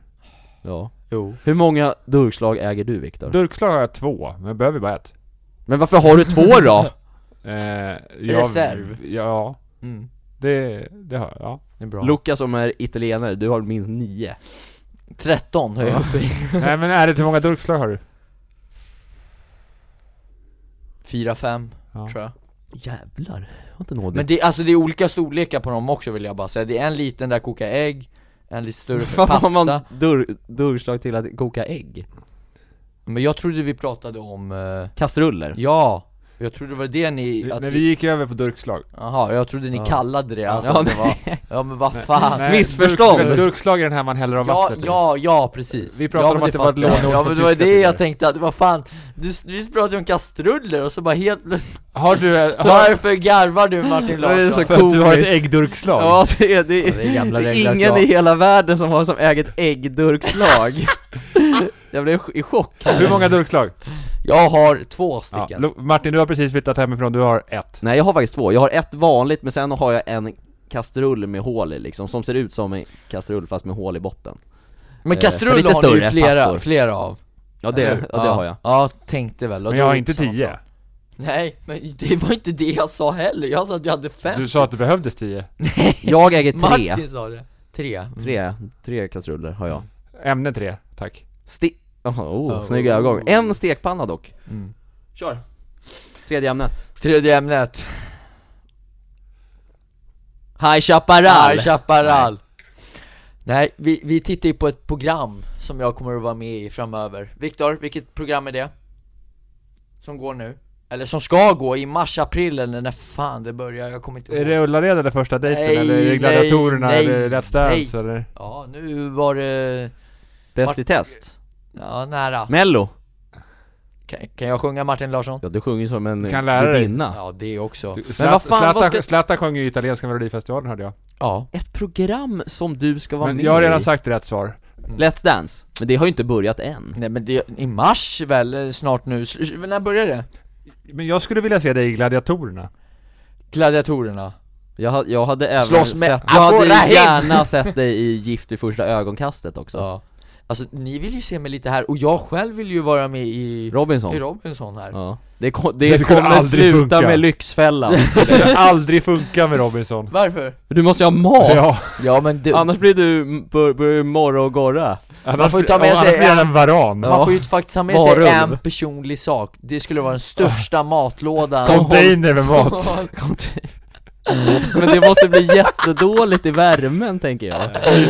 [SPEAKER 1] Ja.
[SPEAKER 2] jo
[SPEAKER 1] Hur många durkslag äger du Viktor?
[SPEAKER 3] Durkslag har jag två, men jag behöver bara ett.
[SPEAKER 1] men varför har du två
[SPEAKER 3] [LAUGHS]
[SPEAKER 1] då?
[SPEAKER 3] Eh, jag,
[SPEAKER 2] Reserv.
[SPEAKER 3] Ja,
[SPEAKER 2] mm.
[SPEAKER 3] det, det har jag. Ja.
[SPEAKER 2] Det är bra
[SPEAKER 1] Luca som är italienare, du har minst nio.
[SPEAKER 2] 13 höjer jag upp i [LAUGHS]
[SPEAKER 3] Nej men är det hur många durkslag har du?
[SPEAKER 2] 4-5
[SPEAKER 3] Ja.
[SPEAKER 2] tror jag
[SPEAKER 1] Jävlar, jag har inte nått
[SPEAKER 2] Men det, alltså det är olika storlekar på dem också vill jag bara säga Det är en liten där koka ägg En lite större för
[SPEAKER 1] [LAUGHS] Fan
[SPEAKER 2] pasta
[SPEAKER 1] vad man dur, durslag till att koka ägg?
[SPEAKER 2] Men jag trodde vi pratade om, eh,
[SPEAKER 1] Kastruller?
[SPEAKER 2] ja Jag trodde det var det ni, att
[SPEAKER 3] När vi gick över på durkslag.
[SPEAKER 2] Jaha, jag trodde ni
[SPEAKER 1] Ja.
[SPEAKER 2] kallade det alltså
[SPEAKER 1] Ja,
[SPEAKER 2] att det var, [LAUGHS] Ja men vad fan
[SPEAKER 3] Nej,
[SPEAKER 1] Missförstånd.
[SPEAKER 3] Durk, durkslag är den här man häller av
[SPEAKER 2] Ja,
[SPEAKER 3] vattnet i.
[SPEAKER 2] ja, ja precis
[SPEAKER 3] Vi pratade
[SPEAKER 2] ja,
[SPEAKER 3] om
[SPEAKER 2] men
[SPEAKER 3] att det var ett
[SPEAKER 2] fattar jag.
[SPEAKER 3] låneord
[SPEAKER 2] Ja
[SPEAKER 3] från
[SPEAKER 2] men det var
[SPEAKER 3] tyska
[SPEAKER 2] det jag
[SPEAKER 3] tidigare.
[SPEAKER 2] tänkte, att vad fan du, Vi pratade om kastruller och så bara helt plötsligt
[SPEAKER 3] Har du... eh, Har,
[SPEAKER 2] Varför garvar du
[SPEAKER 3] [LAUGHS]
[SPEAKER 2] Martin
[SPEAKER 1] Vad är det
[SPEAKER 2] Larsson?
[SPEAKER 1] så
[SPEAKER 3] för att du har ett
[SPEAKER 1] komiskt.
[SPEAKER 3] äggdurkslag?
[SPEAKER 1] Ja det är, det
[SPEAKER 2] Ja,
[SPEAKER 1] är,
[SPEAKER 2] det är gamla
[SPEAKER 1] det
[SPEAKER 2] regler
[SPEAKER 1] är
[SPEAKER 2] att
[SPEAKER 1] ingen
[SPEAKER 2] jag-
[SPEAKER 1] i hela världen som har som äger ett [LAUGHS] äggdurkslag Jag blev i chock
[SPEAKER 3] Hur många durkslag?
[SPEAKER 2] Jag har två
[SPEAKER 3] Ja.
[SPEAKER 2] stycken
[SPEAKER 3] Lo- Martin, du har precis flyttat hemifrån, du har ett.
[SPEAKER 1] Nej jag har faktiskt två, jag har ett vanligt men sen har jag en kastrull med hål i liksom, som ser ut som en kastrull fast med hål i botten
[SPEAKER 2] Men
[SPEAKER 1] Eh,
[SPEAKER 2] kastruller
[SPEAKER 1] lite
[SPEAKER 2] har ni ju
[SPEAKER 1] större pastor.
[SPEAKER 2] flera, flera av
[SPEAKER 1] Ja det,
[SPEAKER 2] Eller hur?
[SPEAKER 1] ja, det har jag
[SPEAKER 2] Ja, tänkte väl Och
[SPEAKER 3] Men
[SPEAKER 2] då
[SPEAKER 3] jag har
[SPEAKER 2] är
[SPEAKER 3] inte
[SPEAKER 2] det samma
[SPEAKER 3] tio.
[SPEAKER 2] plan. Nej, men det var inte det jag sa heller, jag sa att jag hade fem
[SPEAKER 3] Du sa att det behövdes tio.
[SPEAKER 1] Jag [LAUGHS] äger tre,
[SPEAKER 2] Martin sa det Tre Mm.
[SPEAKER 1] tre, tre kastruller har jag
[SPEAKER 3] Ämne tre, tack.
[SPEAKER 1] Ste... Oh, oh,
[SPEAKER 2] Oh.
[SPEAKER 1] snygg övergång. En stekpanna dock.
[SPEAKER 2] Mm.
[SPEAKER 1] Kör. Tredje ämnet.
[SPEAKER 2] Tredje ämnet
[SPEAKER 1] High Chaparral!
[SPEAKER 2] High Chaparral Nej, vi, vi tittar ju på ett program som jag kommer att vara med i framöver Viktor, vilket program är det? Som går nu? Eller som ska gå i mars, april eller när fan det börjar, jag kommer inte
[SPEAKER 3] Är
[SPEAKER 2] ihåg
[SPEAKER 3] det Ullared eller första dejten?
[SPEAKER 2] Nej,
[SPEAKER 3] eller är det
[SPEAKER 2] nej,
[SPEAKER 3] Gladiatorerna?
[SPEAKER 2] nej,
[SPEAKER 3] eller Let's Dance? Eller?
[SPEAKER 2] Ja, nu var det...
[SPEAKER 1] Bäst i test.
[SPEAKER 2] Ja, nära
[SPEAKER 1] Mello.
[SPEAKER 2] kan, kan jag sjunga Martin Larsson?
[SPEAKER 1] Ja, du sjunger som en
[SPEAKER 3] Kan lära dig.
[SPEAKER 1] gudinna.
[SPEAKER 2] Ja, det också
[SPEAKER 3] Du, Zlatan-
[SPEAKER 1] vad fan, vad
[SPEAKER 3] Zlatan-
[SPEAKER 1] ska-
[SPEAKER 3] Zlatan sjöng ju italienska melodifestivalen hörde jag.
[SPEAKER 2] Ja,
[SPEAKER 1] Ett program som du ska vara
[SPEAKER 3] Men
[SPEAKER 1] med
[SPEAKER 3] jag har
[SPEAKER 1] i.
[SPEAKER 3] redan sagt rätt svar.
[SPEAKER 1] Let's Dance. Men det har ju inte börjat än.
[SPEAKER 2] nej men det, i mars väl, eh, snart nu, Sl- när börjar det?
[SPEAKER 3] Men jag skulle vilja se dig i Gladiatorerna.
[SPEAKER 2] Gladiatorerna
[SPEAKER 1] Jag, ha- jag hade även
[SPEAKER 2] Slåss med
[SPEAKER 1] sett... Jag hade
[SPEAKER 2] Aborahim.
[SPEAKER 1] gärna sett dig i Gift i första ögonkastet också.
[SPEAKER 2] Ja Alltså ni vill ju se mig lite här, och jag själv vill ju vara med i,
[SPEAKER 1] Robinson?
[SPEAKER 2] i Robinson här
[SPEAKER 1] Ja. Det, ko- det,
[SPEAKER 3] Det skulle
[SPEAKER 1] kommer
[SPEAKER 3] aldrig
[SPEAKER 1] sluta
[SPEAKER 3] funka.
[SPEAKER 1] med
[SPEAKER 3] [LAUGHS]
[SPEAKER 1] Lyxfällan
[SPEAKER 3] Det skulle aldrig funka med Robinson.
[SPEAKER 2] Varför?
[SPEAKER 1] Du måste ju ha mat!
[SPEAKER 3] Ja,
[SPEAKER 2] Ja men du,
[SPEAKER 1] Annars blir du, bör- börjar du morra och gorra
[SPEAKER 3] annars,
[SPEAKER 2] får ju ta med
[SPEAKER 3] annars
[SPEAKER 2] sig
[SPEAKER 3] blir han
[SPEAKER 2] en-
[SPEAKER 3] en varan.
[SPEAKER 2] man får ju faktiskt ha med
[SPEAKER 1] Varum.
[SPEAKER 2] sig en personlig sak, det skulle vara den största matlådan [LAUGHS]
[SPEAKER 3] Container med mat.
[SPEAKER 1] Men det måste bli jättedåligt i värmen tänker jag,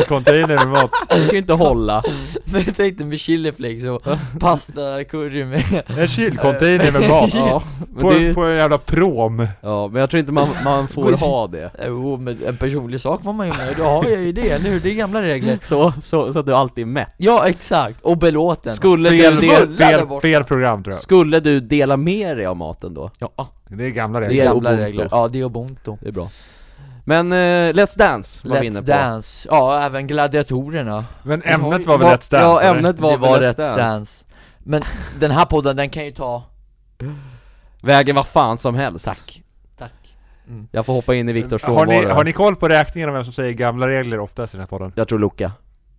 [SPEAKER 3] Container med mat.
[SPEAKER 1] det kan ju inte hålla
[SPEAKER 2] Men jag tänkte med chiliflakes och pasta, curry med
[SPEAKER 3] En kylcontainer med mat.
[SPEAKER 1] Ja, men
[SPEAKER 3] På,
[SPEAKER 1] det är, ju-
[SPEAKER 3] på en jävla prom.
[SPEAKER 1] ja, men jag tror inte man, man får ha det
[SPEAKER 2] Jo men en personlig sak var man ju med, då har jag ju det, eller hur? Det är gamla regler
[SPEAKER 1] så, så, så att du alltid är mätt
[SPEAKER 2] Ja exakt, och belåten
[SPEAKER 1] Skulle
[SPEAKER 3] Fel,
[SPEAKER 1] du, del,
[SPEAKER 2] Smulla där
[SPEAKER 3] fel,
[SPEAKER 2] borta.
[SPEAKER 3] fel program tror
[SPEAKER 1] skulle du dela med dig av maten då?
[SPEAKER 2] Ja,
[SPEAKER 3] jag. Det är gamla
[SPEAKER 1] Det är
[SPEAKER 3] regler.
[SPEAKER 1] gamla
[SPEAKER 2] gamla
[SPEAKER 1] regler.
[SPEAKER 2] regler Ja det är ubuntu
[SPEAKER 1] Det är bra Men eh, Let's Dance var vi inne
[SPEAKER 2] Let's
[SPEAKER 1] på
[SPEAKER 2] Dance, ja även gladiatorerna
[SPEAKER 3] Men
[SPEAKER 2] Vi har
[SPEAKER 3] ämnet
[SPEAKER 2] ju-
[SPEAKER 3] var väl
[SPEAKER 1] Va-
[SPEAKER 3] Let's Dance?
[SPEAKER 1] Ja,
[SPEAKER 3] eller?
[SPEAKER 1] ämnet var,
[SPEAKER 2] Det var
[SPEAKER 1] väl
[SPEAKER 2] Let's Dance. Men den här podden, den kan ju ta
[SPEAKER 1] Vägen var fan som helst
[SPEAKER 2] Tack Tack
[SPEAKER 1] Jag får hoppa in i Viktors
[SPEAKER 3] har, ni,
[SPEAKER 1] frånvaro
[SPEAKER 3] har ni koll på räkningen av vem som säger gamla regler oftast i den här podden?
[SPEAKER 1] Jag tror Luca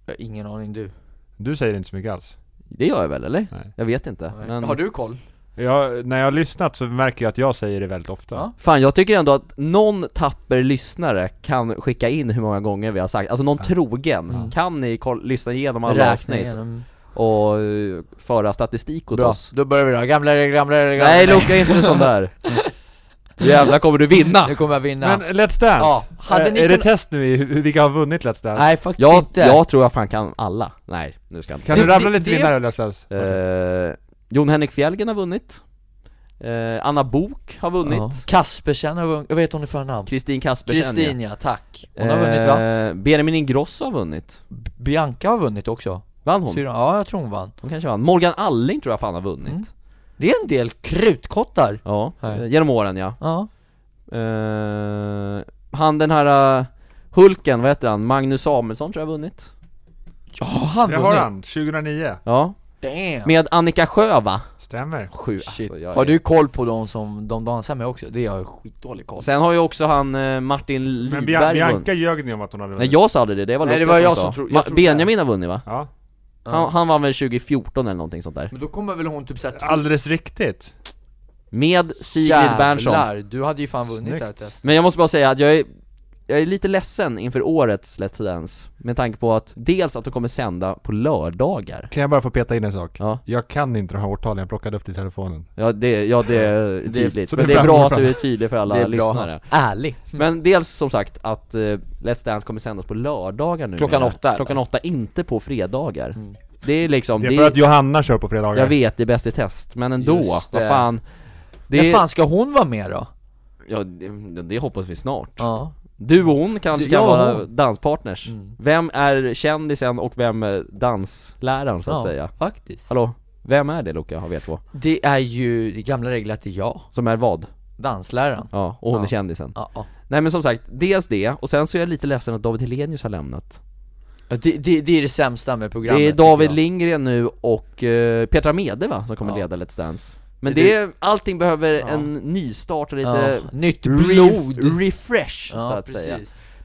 [SPEAKER 2] Jag har ingen aning du
[SPEAKER 3] Du säger inte så mycket alls.
[SPEAKER 1] Det gör jag väl eller?
[SPEAKER 3] Nej.
[SPEAKER 1] Jag vet inte men...
[SPEAKER 2] Har du koll?
[SPEAKER 3] Jag, när jag har lyssnat så märker jag att jag säger det väldigt ofta.
[SPEAKER 2] Ja.
[SPEAKER 1] Fan jag tycker ändå att någon tapper lyssnare kan skicka in hur många gånger vi har sagt, alltså någon trogen
[SPEAKER 2] Ja.
[SPEAKER 1] Kan ni koll- lyssna igenom alla avsnitt
[SPEAKER 2] igenom
[SPEAKER 1] och eh, föra statistik åt
[SPEAKER 2] Bra,
[SPEAKER 1] oss?
[SPEAKER 2] då börjar vi då, gamla regler, gamla regler, gamla
[SPEAKER 1] Nej
[SPEAKER 2] regler.
[SPEAKER 1] Luca inte sån där! [LAUGHS] Jävlar kommer du vinna!
[SPEAKER 2] Nu kommer jag vinna
[SPEAKER 3] Men Let's Dance!
[SPEAKER 2] Ja, hade
[SPEAKER 3] Eh,
[SPEAKER 2] ni
[SPEAKER 3] är det
[SPEAKER 2] kunnat-
[SPEAKER 3] test nu i hur, vilka har vunnit Let's Dance?
[SPEAKER 2] Nej faktiskt
[SPEAKER 1] Jag,
[SPEAKER 2] inte
[SPEAKER 1] jag tror jag fan kan alla, nej nu ska jag inte
[SPEAKER 3] Kan du
[SPEAKER 2] Det-
[SPEAKER 3] rabbla
[SPEAKER 2] det-
[SPEAKER 3] lite
[SPEAKER 2] det-
[SPEAKER 3] vinnare av Let's Dance?
[SPEAKER 1] eh, Jon Henrik Fjällgren har vunnit eh, Anna Bok har
[SPEAKER 2] Ja.
[SPEAKER 1] vunnit
[SPEAKER 2] Kaspersen har vunnit, jag vet hon är förnamn
[SPEAKER 1] Kristin Kaspersen ja.
[SPEAKER 2] Kristin ja, tack Hon har vunnit va?
[SPEAKER 1] Eh, Benjamin Ingrosso har vunnit
[SPEAKER 2] B- Bianca har vunnit också
[SPEAKER 1] Vann hon?
[SPEAKER 2] Syran, ja jag tror hon vann
[SPEAKER 1] Hon kanske vann, Morgan Alling tror jag fan har vunnit
[SPEAKER 2] Mm. Det är en del krutkottar
[SPEAKER 1] Ja,
[SPEAKER 2] Nej.
[SPEAKER 1] eh, genom åren ja
[SPEAKER 2] Ja,
[SPEAKER 1] Eh, Han den här eh, Hulken, vad heter han? Magnus Samuelsson tror jag har vunnit
[SPEAKER 2] ja han
[SPEAKER 3] Jag har han, 2009.
[SPEAKER 1] Ja,
[SPEAKER 2] Damn.
[SPEAKER 1] med Annika Sjö va?
[SPEAKER 3] Stämmer.
[SPEAKER 1] Sju
[SPEAKER 2] Shit.
[SPEAKER 1] alltså, jag
[SPEAKER 2] Har
[SPEAKER 1] är-
[SPEAKER 2] du koll på de som de dansar med också? Det har jag skitdålig koll
[SPEAKER 1] Sen har ju också han eh, Martin
[SPEAKER 3] Men
[SPEAKER 1] Lidberg
[SPEAKER 3] Bian-
[SPEAKER 1] vunnit.
[SPEAKER 3] Bianca ljög ni om att hon hade
[SPEAKER 1] Nej
[SPEAKER 3] vunnit.
[SPEAKER 1] jag sa aldrig det, det var
[SPEAKER 2] Nej, det
[SPEAKER 1] Lukas
[SPEAKER 2] var jag
[SPEAKER 1] sa.
[SPEAKER 2] som trodde-
[SPEAKER 1] Ma-
[SPEAKER 2] jag trodde
[SPEAKER 1] Benjamin har vunnit va?
[SPEAKER 3] Ja.
[SPEAKER 1] Han, han vann väl 2014 eller någonting sånt där
[SPEAKER 2] Men då kommer väl hon typ såhär
[SPEAKER 3] Alldeles riktigt.
[SPEAKER 1] Med Sigrid Bernson
[SPEAKER 2] du hade ju fan vunnit
[SPEAKER 3] Snyggt.
[SPEAKER 2] det här testet
[SPEAKER 1] Men jag måste bara säga att jag är, jag är lite ledsen inför årets Let's Dance Med tanke på att dels att de kommer sända på lördagar
[SPEAKER 3] Kan jag bara få peta in en sak?
[SPEAKER 1] Ja.
[SPEAKER 3] Jag kan inte de här årtalen, jag plockade upp det i telefonen.
[SPEAKER 1] Ja det, ja, det är tydligt,
[SPEAKER 3] så
[SPEAKER 1] men
[SPEAKER 3] det
[SPEAKER 1] det är bra
[SPEAKER 3] framgår
[SPEAKER 1] att du är tydlig för alla lyssnare
[SPEAKER 2] Ärlig
[SPEAKER 1] Men dels som sagt att eh, Let's Dance kommer sändas på lördagar nu
[SPEAKER 2] Klockan åtta, Mm. eller?
[SPEAKER 1] Klockan åtta, inte på fredagar Det är liksom,
[SPEAKER 3] Det
[SPEAKER 1] det
[SPEAKER 3] är för att Johanna kör på fredagar.
[SPEAKER 1] jag vet det är bäst i test, men ändå,
[SPEAKER 2] Just
[SPEAKER 1] vad
[SPEAKER 2] det.
[SPEAKER 1] fan
[SPEAKER 2] Men
[SPEAKER 1] Det,
[SPEAKER 2] fan ska hon vara med då?
[SPEAKER 1] ja, det, det hoppas vi snart
[SPEAKER 2] Ja
[SPEAKER 1] Du och hon kanske
[SPEAKER 2] Du-
[SPEAKER 1] kan
[SPEAKER 2] jag och
[SPEAKER 1] vara
[SPEAKER 2] hon.
[SPEAKER 1] danspartners
[SPEAKER 2] Mm.
[SPEAKER 1] Vem är kändisen och vem är dansläraren så att
[SPEAKER 2] ja,
[SPEAKER 1] säga?
[SPEAKER 2] faktiskt
[SPEAKER 1] Hallå? Vem är det Luca, har vet på?
[SPEAKER 2] Det är ju, det är gamla regler att det är jag,
[SPEAKER 1] Som är vad?
[SPEAKER 2] dansläraren
[SPEAKER 1] Ja, och hon
[SPEAKER 2] Ja.
[SPEAKER 1] är kändisen
[SPEAKER 2] Ja, ja.
[SPEAKER 1] Nej men som sagt, dels det, och sen så är jag lite ledsen att David Hellenius har lämnat
[SPEAKER 2] Ja, Det, det, det är det sämsta med programmet
[SPEAKER 1] Det är David
[SPEAKER 2] tycker jag.
[SPEAKER 1] Lindgren nu och eh, Petra Mede va, som kommer
[SPEAKER 2] Ja.
[SPEAKER 1] leda Let's Dance Men
[SPEAKER 2] Det-
[SPEAKER 1] det, är, allting behöver
[SPEAKER 2] Ja.
[SPEAKER 1] en nystart och lite
[SPEAKER 2] ja. Nytt
[SPEAKER 1] re-
[SPEAKER 2] Typ blod
[SPEAKER 1] refresh så att säga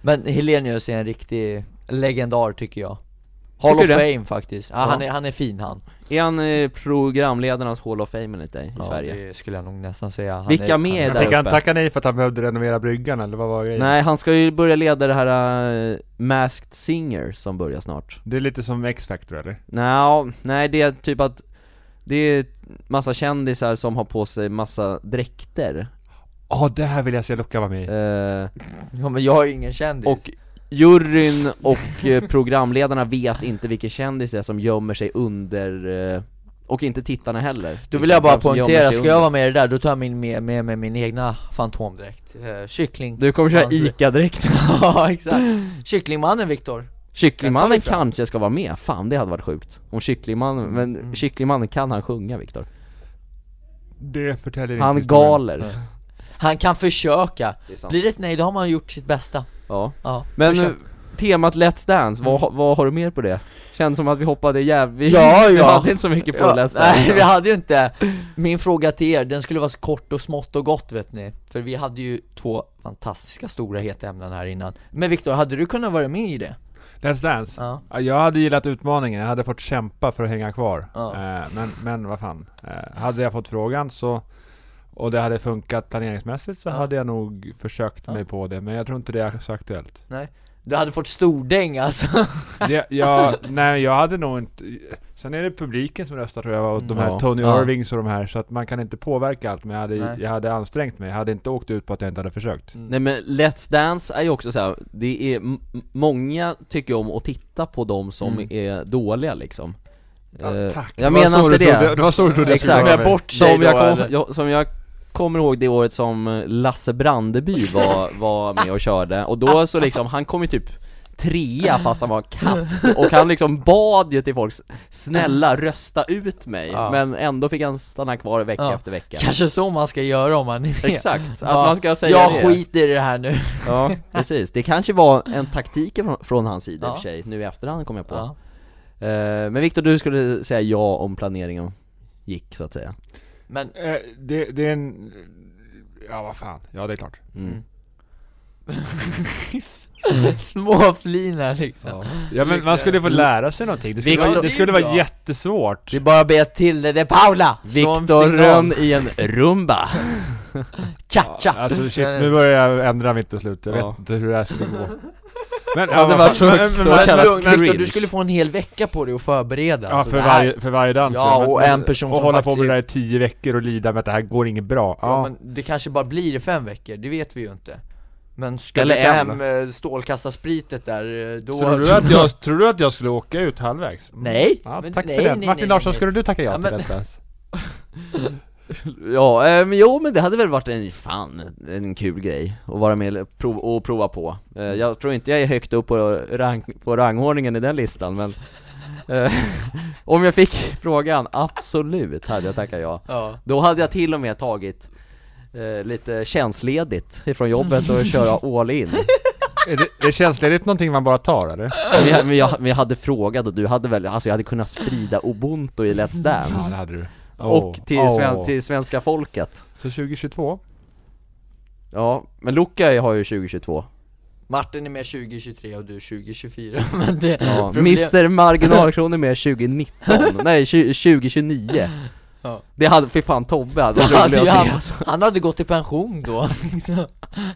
[SPEAKER 2] Men Helenius är en riktig legendar tycker jag Hall
[SPEAKER 1] Tycker
[SPEAKER 2] of
[SPEAKER 1] du
[SPEAKER 2] Fame faktiskt, ja, Han, är, han är fin han
[SPEAKER 1] Är han eh, programledarnas Hall of Fame enligt dig i
[SPEAKER 2] ja,
[SPEAKER 1] Sverige?
[SPEAKER 2] det skulle jag nog nästan säga han
[SPEAKER 1] Vilka
[SPEAKER 2] är,
[SPEAKER 1] mer
[SPEAKER 2] han,
[SPEAKER 1] där
[SPEAKER 3] Fick han
[SPEAKER 1] uppe.
[SPEAKER 3] tacka nej för att han behövde renovera bryggan eller vad var grejen?
[SPEAKER 1] Nej, han ska ju börja leda det här eh, Masked Singer som börjar snart
[SPEAKER 3] Det är lite som X-Factor eller?
[SPEAKER 1] Nja, nej det är typ att Det är massa kändisar som har på sig massa dräkter
[SPEAKER 3] Ja, det här vill jag se Luca vara med i.
[SPEAKER 1] eh,
[SPEAKER 2] Ja men jag är ingen kändis
[SPEAKER 1] Och juryn och eh, programledarna vet inte vilken kändis det är som gömmer sig under eh, Och inte tittarna heller Liksom
[SPEAKER 2] Då vill jag bara
[SPEAKER 1] Vem som gömmer
[SPEAKER 2] poängtera,
[SPEAKER 1] sig
[SPEAKER 2] ska jag
[SPEAKER 1] under.
[SPEAKER 2] vara med i det där, då tar jag min, med, med, med min egna fantomdräkt eh, Kyckling
[SPEAKER 1] Du kommer köra
[SPEAKER 2] Alltså-
[SPEAKER 1] ICA-dräkt
[SPEAKER 2] [LAUGHS] Ja exakt, Kycklingmannen Viktor
[SPEAKER 1] Kycklingmannen
[SPEAKER 2] Jag tar det fram.
[SPEAKER 1] kanske ska vara med, fan det hade varit sjukt Om Kycklingmannen, men
[SPEAKER 2] Mm.
[SPEAKER 1] Kycklingmannen kan han sjunga Viktor?
[SPEAKER 3] Det förtäljer inte
[SPEAKER 1] Han
[SPEAKER 3] historien.
[SPEAKER 1] galer,
[SPEAKER 2] Han kan försöka,
[SPEAKER 1] Det är sant.
[SPEAKER 2] blir det ett nej då har man gjort sitt bästa
[SPEAKER 1] ja
[SPEAKER 2] Ja, Mm.
[SPEAKER 1] Men
[SPEAKER 2] försök.
[SPEAKER 1] eh, temat Let's Dance, vad, vad har du mer på det? Känns som att vi hoppade jävligt,
[SPEAKER 2] Ja,
[SPEAKER 1] [LAUGHS] vi
[SPEAKER 2] ja.
[SPEAKER 1] hade inte så mycket på
[SPEAKER 2] Ja,
[SPEAKER 1] Let's Dance
[SPEAKER 2] [LAUGHS] Nej vi hade ju inte, min fråga till er, den skulle vara så kort och smått och gott vet ni För vi hade ju två fantastiska stora heta ämnen här innan Men Viktor, hade du kunnat vara med i det?
[SPEAKER 3] Let's Dance?
[SPEAKER 2] Ja.
[SPEAKER 3] Ja, Jag hade gillat utmaningen, jag hade fått kämpa för att hänga kvar.
[SPEAKER 2] Ja.
[SPEAKER 3] Eh, men, men vad fan. Eh, hade jag fått frågan så, och det hade funkat planeringsmässigt så
[SPEAKER 2] Ja.
[SPEAKER 3] hade jag nog försökt
[SPEAKER 2] Ja.
[SPEAKER 3] mig på det, men jag tror inte det är så aktuellt.
[SPEAKER 2] Du hade fått stordäng alltså
[SPEAKER 3] Det,
[SPEAKER 1] [LAUGHS]
[SPEAKER 3] jag, nej, jag hade nog inte... Sen är det publiken som röstar tror jag, och de
[SPEAKER 1] Mm.
[SPEAKER 3] här
[SPEAKER 1] Ja.
[SPEAKER 3] Tony
[SPEAKER 2] Ja.
[SPEAKER 3] Irvings och de här, så att man kan inte påverka allt, men jag hade,
[SPEAKER 2] Nej.
[SPEAKER 3] jag hade ansträngt mig. Jag hade inte åkt ut på att jag inte hade försökt.
[SPEAKER 1] Nej men Let's Dance är ju också så här, det är, m- många tycker om att titta på de som
[SPEAKER 2] Mm.
[SPEAKER 1] är dåliga liksom Eh,
[SPEAKER 3] tack.
[SPEAKER 1] Jag menar inte det,
[SPEAKER 3] Det var så du trodde jag skulle
[SPEAKER 1] Exakt.
[SPEAKER 3] vara med.
[SPEAKER 2] bort dig
[SPEAKER 1] som,
[SPEAKER 2] då,
[SPEAKER 1] jag kom,
[SPEAKER 2] eller?
[SPEAKER 1] jag, som jag kommer ihåg det året som eh, Lasse Brandeby
[SPEAKER 2] [LAUGHS]
[SPEAKER 1] var, var med och körde, och då så liksom, han kom ju typ trea fast han var kass, och han liksom bad ju till folk Snälla rösta ut mig,
[SPEAKER 2] Ja.
[SPEAKER 1] men ändå fick han stanna kvar vecka
[SPEAKER 2] Ja.
[SPEAKER 1] efter vecka
[SPEAKER 2] Kanske så man ska göra om man är med
[SPEAKER 1] Exakt, att
[SPEAKER 2] Ja,
[SPEAKER 1] man ska säga
[SPEAKER 2] Jag
[SPEAKER 1] det
[SPEAKER 2] skiter i det här nu
[SPEAKER 1] Ja, precis. Det kanske var en taktik från, från hans sida i och
[SPEAKER 2] Ja.
[SPEAKER 1] för sig, nu i efterhand kom jag på.
[SPEAKER 2] ja.
[SPEAKER 1] Eh, men Viktor, du skulle säga ja om planeringen gick, så att säga.
[SPEAKER 2] Men,
[SPEAKER 3] [LAUGHS]
[SPEAKER 2] [LAUGHS]
[SPEAKER 3] Eh, det, det är en... Ja, vad fan. Ja, det är klart.
[SPEAKER 1] Mm.
[SPEAKER 2] Mm. småflina liksom
[SPEAKER 3] Ja, men man skulle få lära sig någonting. Det skulle,
[SPEAKER 1] Vilket-
[SPEAKER 3] vara, det skulle vara jättesvårt.
[SPEAKER 2] Det är bara att be till det, det är Paula! Slå en
[SPEAKER 1] Viktor
[SPEAKER 2] signal.
[SPEAKER 1] Rönn i en rumba.
[SPEAKER 2] Tja, tja!
[SPEAKER 3] Alltså shit, nu börjar jag ändra mitt beslut. Jag
[SPEAKER 1] Ja.
[SPEAKER 3] vet inte hur det här skulle
[SPEAKER 2] [LAUGHS]
[SPEAKER 3] gå. Men,
[SPEAKER 1] Ja, det var så- så kallad
[SPEAKER 2] Lugn, Viktor, du
[SPEAKER 1] cringe.
[SPEAKER 2] skulle få en hel vecka på dig att förbereda
[SPEAKER 3] Ja,
[SPEAKER 2] alltså,
[SPEAKER 3] för
[SPEAKER 2] det här-
[SPEAKER 3] varje, för varje dans.
[SPEAKER 2] Ja,
[SPEAKER 3] Men-
[SPEAKER 2] och
[SPEAKER 3] men-
[SPEAKER 2] en person
[SPEAKER 3] Och
[SPEAKER 2] som
[SPEAKER 3] hålla på
[SPEAKER 2] faktiskt-
[SPEAKER 3] med det där i tio veckor och lida med att det här går inget bra.
[SPEAKER 2] Ja,
[SPEAKER 3] Ja,
[SPEAKER 2] men det kanske bara blir i fem veckor, det vet vi ju inte Men ska
[SPEAKER 1] Eller
[SPEAKER 2] Eller du ta
[SPEAKER 1] en.
[SPEAKER 2] hem eh, stålkastarspritet där, eh, då...
[SPEAKER 3] Tror, du att jag, tror du att jag skulle åka ut halvvägs?
[SPEAKER 2] [LAUGHS]
[SPEAKER 3] Mm.
[SPEAKER 2] Nej!
[SPEAKER 3] Ja,
[SPEAKER 2] Men
[SPEAKER 3] tack
[SPEAKER 2] nej,
[SPEAKER 3] för det.
[SPEAKER 2] nej,
[SPEAKER 3] Martin
[SPEAKER 2] nej,
[SPEAKER 3] Larsson,
[SPEAKER 2] nej.
[SPEAKER 3] skulle du tacka ja,
[SPEAKER 2] Ja,
[SPEAKER 3] till
[SPEAKER 2] men- [LAUGHS]
[SPEAKER 3] Let's Dance?
[SPEAKER 1] [LAUGHS] ja, eh, men jo men det hade väl varit en, fan, en kul grej att vara med och prov, och prova på. Eh, jag tror inte jag är högt upp på, rank, på rangordningen i den listan, men eh, [LAUGHS] om jag fick frågan, absolut hade jag tackat ja.
[SPEAKER 2] Ja,
[SPEAKER 1] Då hade jag till och med tagit eh, lite tjänstledigt ifrån jobbet och köra all [LAUGHS] in
[SPEAKER 3] Är det, är tjänstledigt någonting man bara tar eller?
[SPEAKER 1] men jag, men, jag, men jag hade frågat och du hade väl, alltså jag hade kunnat sprida ubuntu i Let's
[SPEAKER 3] Ja, det
[SPEAKER 1] Dance
[SPEAKER 3] hade du.
[SPEAKER 1] Och
[SPEAKER 3] Åh,
[SPEAKER 1] till,
[SPEAKER 3] åh.
[SPEAKER 1] sven, till svenska folket
[SPEAKER 3] Så 2022?
[SPEAKER 1] Ja, men Luca har ju 2022
[SPEAKER 2] Martin är med 2023 och du 2024 [LAUGHS] men det...
[SPEAKER 1] ja,
[SPEAKER 2] problem-
[SPEAKER 1] Mr Marginalkronor med 2019,
[SPEAKER 2] [LAUGHS]
[SPEAKER 1] nej tju- 2029
[SPEAKER 2] Ja.
[SPEAKER 1] Det hade, fy fan Tobbe hade
[SPEAKER 2] Ja,
[SPEAKER 1] varit rolig att
[SPEAKER 2] det
[SPEAKER 1] se
[SPEAKER 2] hade-
[SPEAKER 1] alltså.
[SPEAKER 2] Han hade gått i pension då, [LAUGHS] liksom.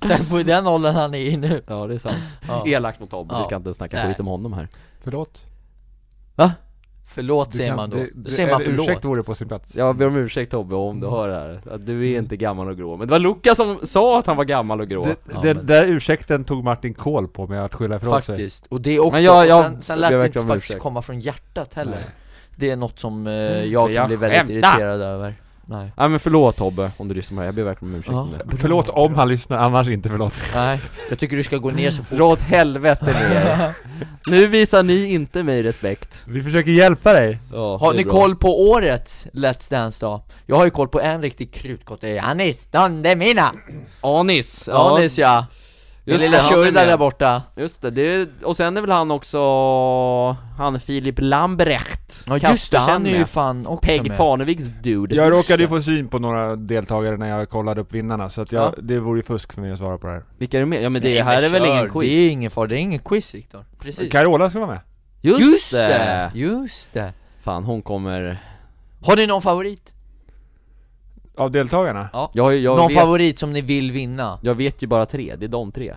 [SPEAKER 2] Tänk på den åldern han är i nu
[SPEAKER 1] Ja det är sant,
[SPEAKER 2] ja.
[SPEAKER 1] elakt mot Tobbe, vi
[SPEAKER 2] Ja.
[SPEAKER 1] ska inte snacka
[SPEAKER 2] Nej.
[SPEAKER 1] skit om honom här
[SPEAKER 3] Förlåt?
[SPEAKER 2] Förlåt
[SPEAKER 3] Du
[SPEAKER 2] säger
[SPEAKER 3] kan-
[SPEAKER 2] man då,
[SPEAKER 3] det-
[SPEAKER 2] då
[SPEAKER 3] det-
[SPEAKER 2] säger man
[SPEAKER 3] eller
[SPEAKER 2] förlåt
[SPEAKER 3] Ursäkt vore på sin plats.
[SPEAKER 1] Jag ber om ursäkt Tobbe om du hör det här, att du
[SPEAKER 2] Mm.
[SPEAKER 1] är inte gammal och grå Men det var Luca som sa att han var gammal och grå
[SPEAKER 3] Det,
[SPEAKER 2] Ja,
[SPEAKER 3] det,
[SPEAKER 2] men-
[SPEAKER 3] där ursäkten tog Martin Kohl på med att skylla ifrån sig.
[SPEAKER 2] Faktiskt, och det är också,
[SPEAKER 1] Men jag-
[SPEAKER 2] och
[SPEAKER 1] jag
[SPEAKER 2] sen, sen
[SPEAKER 1] ber
[SPEAKER 2] lät det
[SPEAKER 1] verkligen
[SPEAKER 2] inte
[SPEAKER 1] om
[SPEAKER 2] faktiskt
[SPEAKER 1] ursäkt.
[SPEAKER 2] komma från hjärtat heller Det är något som eh, jag
[SPEAKER 1] Men
[SPEAKER 2] kan
[SPEAKER 1] jag
[SPEAKER 2] bli väldigt
[SPEAKER 1] skämtar.
[SPEAKER 2] irriterad över Nej,
[SPEAKER 1] Nej men förlåt Tobbe om du lyssnar på det här, jag ber verkligen om ursäkt
[SPEAKER 2] Ja.
[SPEAKER 1] om det
[SPEAKER 3] Förlåt om han lyssnar, annars inte förlåt.
[SPEAKER 2] nej, jag tycker du ska gå ner så fort
[SPEAKER 1] Dra åt helvete med
[SPEAKER 2] [LAUGHS]
[SPEAKER 1] er. Nu visar ni inte mig respekt
[SPEAKER 3] Vi försöker hjälpa dig.
[SPEAKER 1] ja,
[SPEAKER 2] Har ni koll på årets Let's Dance då? Jag har ju koll på en riktig krutkotte, han är stående mina!
[SPEAKER 1] Anis!
[SPEAKER 2] Ja, Anis ja! Den
[SPEAKER 1] Just
[SPEAKER 2] lilla
[SPEAKER 1] det, han är
[SPEAKER 2] Shurda
[SPEAKER 1] med.
[SPEAKER 2] där borta
[SPEAKER 1] Just det, det, är- och sen är väl han också, han Filip Lambrecht
[SPEAKER 2] Ja just det,
[SPEAKER 1] Kaspersen
[SPEAKER 2] han är ju
[SPEAKER 1] med.
[SPEAKER 2] fan också
[SPEAKER 1] Peg
[SPEAKER 2] med
[SPEAKER 1] Parneviks dude
[SPEAKER 3] Jag råkade ju få syn på några deltagare när jag kollade upp vinnarna, så att jag,
[SPEAKER 2] Ja.
[SPEAKER 3] det vore ju fusk för mig att svara på det här.
[SPEAKER 1] Vilka är det med? Ja men det
[SPEAKER 2] Nej,
[SPEAKER 1] här är väl
[SPEAKER 2] kör,
[SPEAKER 1] ingen quiz?
[SPEAKER 2] Det är ingen fara, det är ingen quiz Viktor Precis
[SPEAKER 3] Carola ska vara med.
[SPEAKER 1] Just,
[SPEAKER 2] Just
[SPEAKER 1] det.
[SPEAKER 2] det! Just det!
[SPEAKER 1] Fan hon kommer,
[SPEAKER 2] Har ni någon favorit?
[SPEAKER 3] Av deltagarna.
[SPEAKER 1] jag, jag,
[SPEAKER 2] någon
[SPEAKER 1] vet,
[SPEAKER 2] favorit som ni vill vinna?
[SPEAKER 1] jag vet ju bara tre, det är de tre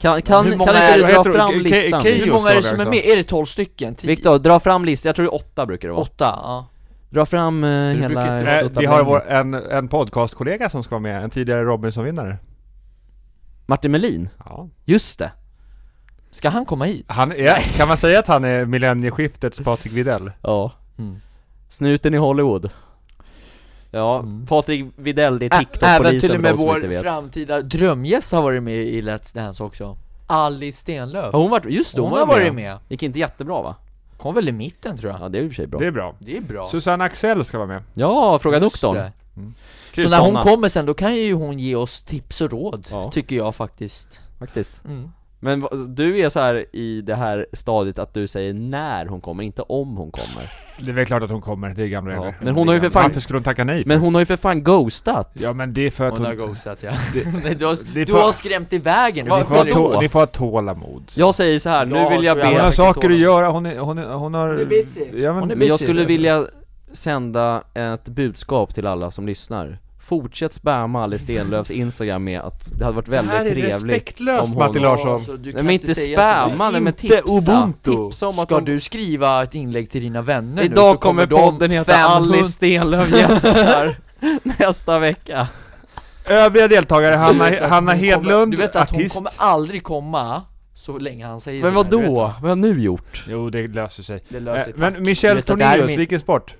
[SPEAKER 1] Kan, kan,
[SPEAKER 2] Hur
[SPEAKER 1] kan
[SPEAKER 2] många
[SPEAKER 1] inte
[SPEAKER 2] är-
[SPEAKER 1] du
[SPEAKER 3] vad
[SPEAKER 1] dra
[SPEAKER 3] heter hon?
[SPEAKER 1] fram
[SPEAKER 3] Ke- Ke-
[SPEAKER 1] listan?
[SPEAKER 3] Keyyo?
[SPEAKER 2] Hur många är det som
[SPEAKER 3] frågar
[SPEAKER 2] är
[SPEAKER 3] jag
[SPEAKER 2] med? Är det 12 stycken? 10?
[SPEAKER 1] Viktor, dra fram listan, jag tror det är åtta brukar det vara
[SPEAKER 2] Åtta? Ja.
[SPEAKER 1] Dra fram eh,
[SPEAKER 2] brukar
[SPEAKER 1] hela
[SPEAKER 2] inte-
[SPEAKER 3] Eh, vi har
[SPEAKER 1] tabellen.
[SPEAKER 3] vår, en, en podcastkollega som ska vara med, en tidigare Robinson-vinnare.
[SPEAKER 1] Martin Melin,
[SPEAKER 3] Ja.
[SPEAKER 1] just det!
[SPEAKER 2] Ska han komma hit?
[SPEAKER 3] Han är, kan man säga att han är millennieskiftets Patrik Widell?
[SPEAKER 1] Ja
[SPEAKER 2] Mm.
[SPEAKER 1] Snuten i Hollywood Ja,
[SPEAKER 2] Mm.
[SPEAKER 1] Patrik Widell, det är
[SPEAKER 2] Ä-
[SPEAKER 1] TikTok-polisen
[SPEAKER 2] Även till och med
[SPEAKER 1] för de som inte
[SPEAKER 2] vår
[SPEAKER 1] vet
[SPEAKER 2] framtida drömgäst har varit med i Let's Dance också Alice Stenlöf
[SPEAKER 1] ja, Hon var, just det,
[SPEAKER 2] Hon har varit med
[SPEAKER 1] Gick inte jättebra va?
[SPEAKER 2] Kom väl i mitten tror jag
[SPEAKER 1] Ja det är i och för sig bra
[SPEAKER 3] Det är bra.
[SPEAKER 2] Ah. Det är bra
[SPEAKER 3] Susanne Axel ska vara med.
[SPEAKER 1] Ja, fråga
[SPEAKER 2] Just
[SPEAKER 1] doktorn!
[SPEAKER 2] det.
[SPEAKER 1] Kryp
[SPEAKER 2] Så när hon
[SPEAKER 1] såna,
[SPEAKER 2] kommer sen, då kan ju hon ge oss tips och råd,
[SPEAKER 1] Ja.
[SPEAKER 2] tycker jag faktiskt
[SPEAKER 1] Faktiskt
[SPEAKER 2] mm.
[SPEAKER 1] Men vad- du är så här i det här stadiet att du säger när hon kommer, inte om hon kommer
[SPEAKER 3] Det är väl klart att hon kommer, det är gamla
[SPEAKER 1] Ja,
[SPEAKER 3] regler.
[SPEAKER 1] men hon har ju för fan-
[SPEAKER 3] Varför skulle hon tacka nej? för?
[SPEAKER 1] Men hon har ju för fan ghostat!
[SPEAKER 3] Ja men det är för att
[SPEAKER 2] Hon har
[SPEAKER 3] hon...
[SPEAKER 2] ghostat ja. [LAUGHS]
[SPEAKER 3] Det-
[SPEAKER 2] Nej, du, har,
[SPEAKER 3] det
[SPEAKER 2] du
[SPEAKER 3] får-
[SPEAKER 2] har skrämt iväg henne.
[SPEAKER 3] Ni får, ha
[SPEAKER 2] Vadå?
[SPEAKER 3] tå, ni får ha tålamod.
[SPEAKER 1] Jag säger så här, nu
[SPEAKER 2] Ja,
[SPEAKER 1] vill jag
[SPEAKER 2] så jävla-
[SPEAKER 3] Hon har
[SPEAKER 1] be,
[SPEAKER 2] Jag tycker
[SPEAKER 3] saker att
[SPEAKER 2] tålamod.
[SPEAKER 3] göra, hon, är, hon, är, hon har...
[SPEAKER 2] Hon är busy.
[SPEAKER 3] Ja, men,
[SPEAKER 2] Hon är
[SPEAKER 1] men jag
[SPEAKER 2] busy.
[SPEAKER 1] skulle vilja sända ett budskap till alla som lyssnar Fortsätt spamma Alice Stenlöfs instagram med att det hade varit
[SPEAKER 3] Det här
[SPEAKER 1] väldigt
[SPEAKER 3] är
[SPEAKER 1] trevligt
[SPEAKER 3] respektlöst
[SPEAKER 1] om
[SPEAKER 3] Martin
[SPEAKER 1] hon-
[SPEAKER 3] Larsson.
[SPEAKER 2] Alltså, du
[SPEAKER 1] Nej
[SPEAKER 2] kan
[SPEAKER 1] men inte
[SPEAKER 2] säga så.
[SPEAKER 1] spamma, nej men
[SPEAKER 3] Inte
[SPEAKER 1] tipsa!
[SPEAKER 3] ubuntu.
[SPEAKER 1] Tipsa om att
[SPEAKER 2] Ska
[SPEAKER 1] de-
[SPEAKER 2] du skriva ett inlägg till dina vänner nu så
[SPEAKER 1] Idag kommer
[SPEAKER 2] de
[SPEAKER 1] podden heta
[SPEAKER 2] 500
[SPEAKER 1] Alice Stenlöf gästar nästa vecka
[SPEAKER 3] Övriga deltagare,
[SPEAKER 2] Du vet
[SPEAKER 3] Hanna,
[SPEAKER 2] att
[SPEAKER 3] Hanna
[SPEAKER 2] hon
[SPEAKER 3] Hedlund,
[SPEAKER 2] kommer, Du vet att
[SPEAKER 3] artist.
[SPEAKER 2] hon kommer aldrig komma så länge han säger
[SPEAKER 1] Men
[SPEAKER 2] så här,
[SPEAKER 1] vad då?
[SPEAKER 2] du vet.
[SPEAKER 1] Vad har jag nu gjort?
[SPEAKER 3] Jo, det löser sig.
[SPEAKER 2] Det löser sig,
[SPEAKER 3] Eh, men
[SPEAKER 2] tack. Du
[SPEAKER 3] Michel
[SPEAKER 2] vet att det här är
[SPEAKER 3] Tornéus,
[SPEAKER 2] min-
[SPEAKER 3] vilken sport?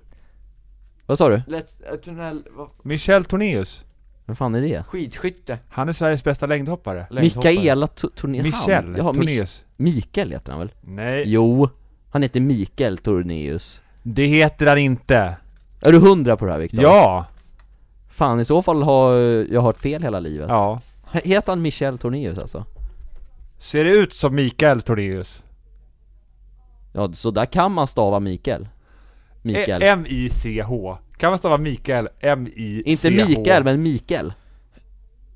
[SPEAKER 1] Vad sa du?
[SPEAKER 2] Lätt, eh, tunnel, vad,
[SPEAKER 3] Michel Tornéus,
[SPEAKER 1] Vem fan är det?
[SPEAKER 2] skidskytte
[SPEAKER 3] han är Sveriges bästa längdhoppare.
[SPEAKER 2] Längdhoppare.
[SPEAKER 1] Mikaela Tu- Tornéus
[SPEAKER 3] Michel
[SPEAKER 1] Jaha, Mich-
[SPEAKER 3] Tornéus.
[SPEAKER 1] Mikael heter han väl?
[SPEAKER 3] Nej,
[SPEAKER 1] Jo, han heter Mikael Tornéus
[SPEAKER 3] det heter han inte.
[SPEAKER 1] Är du hundra på det här Viktor?
[SPEAKER 3] Ja,
[SPEAKER 1] Fan i så fall har eh, jag hört fel hela livet
[SPEAKER 3] ja.
[SPEAKER 1] He- Heter han Michel Tornéus alltså?
[SPEAKER 3] Ser det ut som Mikael Tornéus?
[SPEAKER 1] Ja, så där kan man stava Mikael Mikael
[SPEAKER 3] E- M-I-C-H. Kan man stava Mikael? M-I-C-H.
[SPEAKER 1] Inte Mikael, men Mikael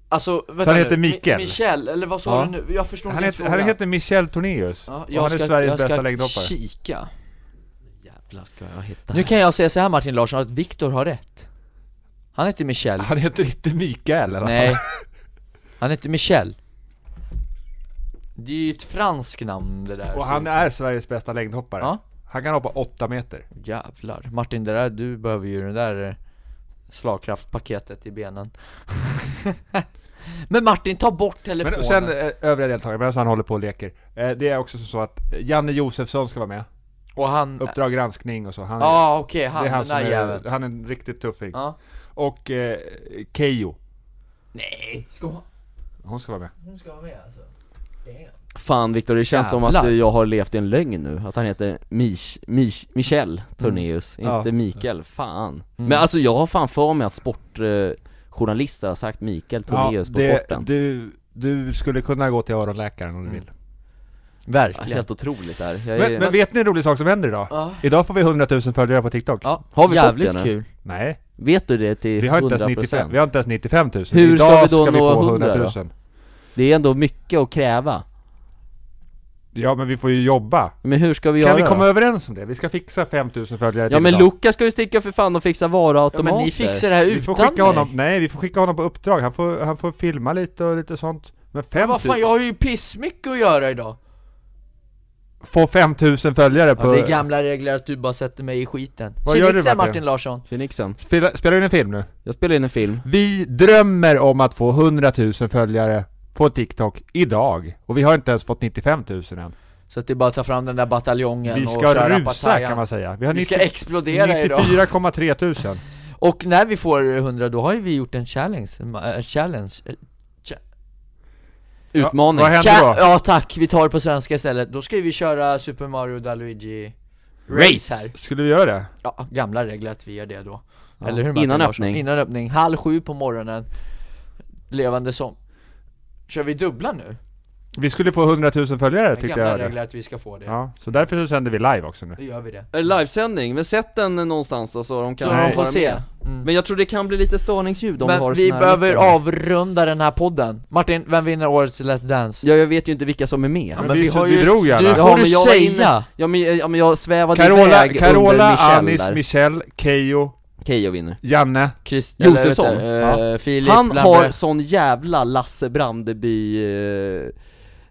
[SPEAKER 2] Alltså vänta
[SPEAKER 3] Så han heter
[SPEAKER 2] nu, Mi-
[SPEAKER 3] Mikael?
[SPEAKER 2] Michel, eller vad sa
[SPEAKER 3] Ja.
[SPEAKER 2] du nu? Jag förstår
[SPEAKER 3] Han
[SPEAKER 2] din
[SPEAKER 3] heter,
[SPEAKER 2] fråga.
[SPEAKER 3] han heter Michel Tornéus.
[SPEAKER 2] ja,
[SPEAKER 3] och
[SPEAKER 2] jag
[SPEAKER 3] han
[SPEAKER 2] ska,
[SPEAKER 3] är Sveriges
[SPEAKER 2] jag ska
[SPEAKER 3] bästa längdhoppare.
[SPEAKER 2] kika
[SPEAKER 1] Jävlar ska jag hitta
[SPEAKER 2] Nu kan jag säga så här Martin Larsson, att Viktor har rätt Han heter Michel
[SPEAKER 3] Han heter inte Mikael i alla fall.
[SPEAKER 2] Nej [LAUGHS] Han heter Michel Det är ju ett franskt namn det där
[SPEAKER 3] Och
[SPEAKER 2] så-
[SPEAKER 3] han är Sveriges bästa längdhoppare.
[SPEAKER 2] Ja.
[SPEAKER 3] Han kan hoppa 8 meter.
[SPEAKER 2] Jävlar, Martin det där, du behöver ju det där eh, slagkraftpaketet i benen [LAUGHS] Men Martin, ta bort telefonen!
[SPEAKER 3] Men sen eh, övriga deltagare, medan han håller på och leker. Eh, det är också så att eh, Janne Josefsson ska vara med.
[SPEAKER 2] och han... Ja
[SPEAKER 3] Uppdrag granskning och så. Han,
[SPEAKER 2] ah, okej,
[SPEAKER 3] det är
[SPEAKER 2] Mm. han,
[SPEAKER 3] han,
[SPEAKER 2] den
[SPEAKER 3] som
[SPEAKER 2] där
[SPEAKER 3] är,
[SPEAKER 2] jäveln
[SPEAKER 3] han är en riktigt tuffing.
[SPEAKER 2] Ja
[SPEAKER 3] Och eh, Keyyo,
[SPEAKER 2] Nej, ska hon,
[SPEAKER 3] hon ska vara med.
[SPEAKER 2] hon ska vara med alltså?
[SPEAKER 1] Fan Viktor, det känns som att
[SPEAKER 2] Jävlar.
[SPEAKER 1] eh, jag har levt i en lögn nu, att han heter Mich, Mich, Michel Tornéus,
[SPEAKER 3] Mm. Ja. Mm.
[SPEAKER 1] inte Mikael, fan Men alltså jag har fan för mig att sportjournalister har sagt Mikael Tornéus på sporten
[SPEAKER 3] du, du skulle kunna gå till öronläkaren om du
[SPEAKER 2] Mm.
[SPEAKER 3] vill.
[SPEAKER 1] Ja,
[SPEAKER 2] Verkligen
[SPEAKER 1] Helt otroligt där, jag är...
[SPEAKER 3] Men, men vet ni en rolig sak som händer idag?
[SPEAKER 2] Ja,
[SPEAKER 3] Idag får vi 100 000 följare på TikTok.
[SPEAKER 2] ja
[SPEAKER 1] Har vi fått
[SPEAKER 2] jävligt
[SPEAKER 1] det nu?
[SPEAKER 2] kul
[SPEAKER 3] Nej,
[SPEAKER 1] Vet du det till
[SPEAKER 3] vi har, inte ens
[SPEAKER 1] 100%?
[SPEAKER 3] 95, vi har inte ens 95 000.
[SPEAKER 1] Hur ska
[SPEAKER 3] idag
[SPEAKER 1] vi då
[SPEAKER 3] ska vi
[SPEAKER 1] nå
[SPEAKER 3] få 100 000.
[SPEAKER 1] 100 Det är ändå mycket att kräva
[SPEAKER 3] Ja, men vi får ju jobba.
[SPEAKER 1] Men hur ska vi
[SPEAKER 3] Kan
[SPEAKER 1] göra
[SPEAKER 3] vi komma
[SPEAKER 1] då?
[SPEAKER 3] överens om det? Vi ska fixa 5000 följare
[SPEAKER 1] Ja
[SPEAKER 3] till
[SPEAKER 1] men
[SPEAKER 3] idag.
[SPEAKER 1] Lukas ska ju sticka för fan och fixa
[SPEAKER 2] Ja
[SPEAKER 1] varuautomater
[SPEAKER 2] men ni fixar det här
[SPEAKER 3] vi får
[SPEAKER 2] utan
[SPEAKER 3] skicka honom,
[SPEAKER 2] mig
[SPEAKER 3] nej vi får skicka honom på uppdrag, han får, han får filma lite och lite sånt Men
[SPEAKER 2] Men vad
[SPEAKER 3] 5000,
[SPEAKER 2] fan, jag har ju pissmycket att göra idag
[SPEAKER 3] få 5000 följare
[SPEAKER 2] ja,
[SPEAKER 3] på...
[SPEAKER 2] Det är gamla regler att du bara sätter mig i skiten
[SPEAKER 3] Vad gör du,
[SPEAKER 2] Tjenixen,
[SPEAKER 3] Martin?
[SPEAKER 2] Martin Larsson
[SPEAKER 1] Phoenixen,
[SPEAKER 3] spela, spelar in en film nu?
[SPEAKER 1] jag spelar in en film
[SPEAKER 3] Vi drömmer om att få 100 000 följare på TikTok idag Och vi har inte ens fått 95 000 än
[SPEAKER 2] Så att det är bara att ta fram den där bataljongen
[SPEAKER 3] Vi
[SPEAKER 2] och
[SPEAKER 3] ska
[SPEAKER 2] köra
[SPEAKER 3] rusa
[SPEAKER 2] Pattayan.
[SPEAKER 3] kan man säga Vi har
[SPEAKER 2] Vi ska
[SPEAKER 3] 90
[SPEAKER 2] explodera idag
[SPEAKER 3] 94,3 tusen
[SPEAKER 2] Och när vi får 100 då har ju vi gjort en challenge, en eh, challenge eh,
[SPEAKER 3] Ja,
[SPEAKER 1] [LAUGHS] Utmaning
[SPEAKER 3] vad händer
[SPEAKER 2] cha-
[SPEAKER 3] då?
[SPEAKER 2] Ja tack, vi tar det på svenska istället Då ska vi köra Super Mario da Luigi
[SPEAKER 1] Race.
[SPEAKER 2] här
[SPEAKER 3] Skulle vi göra det?
[SPEAKER 2] Ja, gamla regler att vi gör det då
[SPEAKER 3] Ja,
[SPEAKER 2] Eller hur Martin
[SPEAKER 1] innan
[SPEAKER 2] Larsson?
[SPEAKER 1] öppning.
[SPEAKER 2] Innan öppning, halv sju på morgonen Levande som Kör vi dubbla nu?
[SPEAKER 3] Vi skulle få 100 000 följare tyckte
[SPEAKER 2] Gamla
[SPEAKER 3] jag hörde.
[SPEAKER 2] regler att vi ska få det,
[SPEAKER 3] Ja, så därför så sänder vi live också nu
[SPEAKER 2] då gör vi det
[SPEAKER 1] Är det livesändning? Men sätt den någonstans då så de kan
[SPEAKER 2] Så de får
[SPEAKER 1] vara
[SPEAKER 2] se
[SPEAKER 1] med.
[SPEAKER 2] Mm.
[SPEAKER 1] Men jag tror det kan bli lite störningsljud om vi har
[SPEAKER 2] Men
[SPEAKER 1] det så
[SPEAKER 2] vi
[SPEAKER 1] nära
[SPEAKER 2] behöver
[SPEAKER 1] micken.
[SPEAKER 2] avrunda den här podden Martin, vem vinner årets Let's Dance?
[SPEAKER 1] Ja jag vet ju inte vilka som är med
[SPEAKER 3] men vi- vi drog ju alla.
[SPEAKER 2] Du
[SPEAKER 3] Ja,
[SPEAKER 2] får
[SPEAKER 1] men
[SPEAKER 2] du
[SPEAKER 1] jag var inne-
[SPEAKER 2] säga!
[SPEAKER 1] Ja men, ja, men jag svävade
[SPEAKER 3] Carola,
[SPEAKER 1] iväg under
[SPEAKER 3] Carola
[SPEAKER 1] Michel
[SPEAKER 3] Anis,
[SPEAKER 1] där
[SPEAKER 3] Michel, Keyyo,
[SPEAKER 1] Keyyo vinner
[SPEAKER 3] Janne
[SPEAKER 2] Chris,
[SPEAKER 1] Josefsson.
[SPEAKER 2] eller vet du, eh, Filip
[SPEAKER 1] Han har
[SPEAKER 2] Lambre.
[SPEAKER 1] sån jävla Lasse Brandeby eh,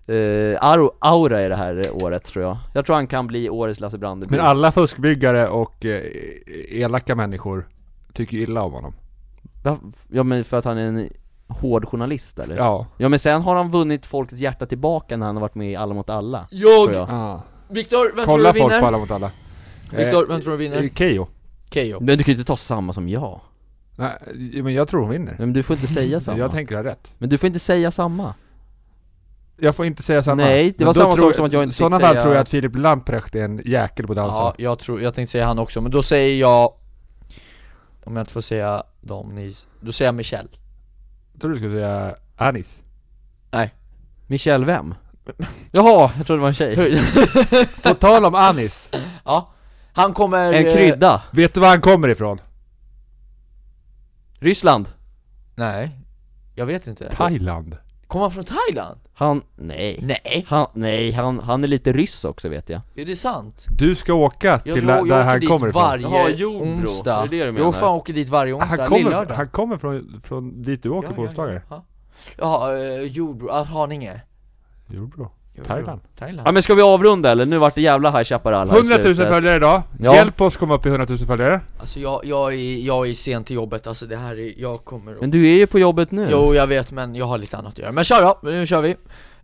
[SPEAKER 1] eh, aro- aura i det här eh, året tror jag Jag tror han kan bli årets Lasse Brandeby
[SPEAKER 3] Men alla fuskbyggare och eh, elaka människor tycker ju illa om honom.
[SPEAKER 1] Va- Ja men för att han är en hård journalist eller? Ja.
[SPEAKER 3] Ja.
[SPEAKER 1] men sen har han vunnit folkets hjärta tillbaka när han har varit med i Alla mot alla tror
[SPEAKER 2] Jag!
[SPEAKER 1] jag.
[SPEAKER 3] Ah.
[SPEAKER 2] Viktor, vem tror
[SPEAKER 3] Kolla
[SPEAKER 2] du
[SPEAKER 3] folk på
[SPEAKER 2] vinner?
[SPEAKER 3] alla mot alla. Eh,
[SPEAKER 2] Viktor, vem tror du vinner?
[SPEAKER 3] Keyyo.
[SPEAKER 2] Keyyo
[SPEAKER 1] Men du kan ju inte ta samma som jag
[SPEAKER 3] Nej, men jag tror hon vinner.
[SPEAKER 1] Nej, Men du får inte säga samma
[SPEAKER 3] [LAUGHS] Jag tänker ha rätt.
[SPEAKER 1] Men du får inte säga samma
[SPEAKER 3] Jag får inte säga samma.
[SPEAKER 1] Nej, det
[SPEAKER 3] Men
[SPEAKER 1] var
[SPEAKER 3] då
[SPEAKER 1] samma
[SPEAKER 3] tror-
[SPEAKER 1] sak som att jag inte
[SPEAKER 3] I
[SPEAKER 1] fick
[SPEAKER 3] sådana fall
[SPEAKER 1] säga-
[SPEAKER 3] tror jag att Filip Lamprecht är en jäkel på dansen.
[SPEAKER 2] Ja, jag tror, jag tänkte säga han också, men då säger jag Om jag inte får säga dem ni, då säger jag Michel
[SPEAKER 3] Jag tror du skulle säga Anis.
[SPEAKER 1] Michel
[SPEAKER 3] [LAUGHS]
[SPEAKER 1] vem? Jaha, jag trodde det var en tjej
[SPEAKER 3] På tal om Anis.
[SPEAKER 2] Ja, [LAUGHS] Han kommer...
[SPEAKER 1] En
[SPEAKER 2] eh,
[SPEAKER 1] krydda.
[SPEAKER 3] Vet du var han kommer ifrån?
[SPEAKER 1] Ryssland.
[SPEAKER 2] Nej, jag vet inte.
[SPEAKER 3] Thailand.
[SPEAKER 2] Kommer han från Thailand?
[SPEAKER 1] Han, nej.
[SPEAKER 2] Nej,
[SPEAKER 1] Han, nej, han, han är lite ryss också vet jag.
[SPEAKER 2] är det sant?
[SPEAKER 3] Du ska åka
[SPEAKER 2] Jag, jag,
[SPEAKER 3] till där,
[SPEAKER 2] jag
[SPEAKER 3] där
[SPEAKER 2] åker
[SPEAKER 3] han
[SPEAKER 2] dit
[SPEAKER 3] kommer ifrån.
[SPEAKER 2] varje
[SPEAKER 1] Jaha, jo, bro.
[SPEAKER 2] onsdag.
[SPEAKER 1] Är det det du menar?
[SPEAKER 2] Jag fan åker dit varje onsdag,
[SPEAKER 3] Han kommer,
[SPEAKER 2] lillördag.
[SPEAKER 3] han kommer från, från dit du åker på onsdagar.
[SPEAKER 2] Ja, ja. ja eh, jordbro, ah, Haninge.
[SPEAKER 3] Jordbro.
[SPEAKER 2] Jordbro.
[SPEAKER 3] Thailand.
[SPEAKER 2] Thailand.
[SPEAKER 1] Ja men ska vi avrunda eller? Nu vart det jävla High Chaparral här i
[SPEAKER 3] 100 000
[SPEAKER 1] slutet.
[SPEAKER 3] följare idag.
[SPEAKER 1] Ja.
[SPEAKER 3] Hjälp oss komma upp i 100 000 följare.
[SPEAKER 2] Alltså jag, jag, är, jag är sen till jobbet, alltså det här är, jag kommer att...
[SPEAKER 1] Men du är ju på jobbet nu.
[SPEAKER 2] Jo jag vet men jag har lite annat att göra, men kör då, nu kör vi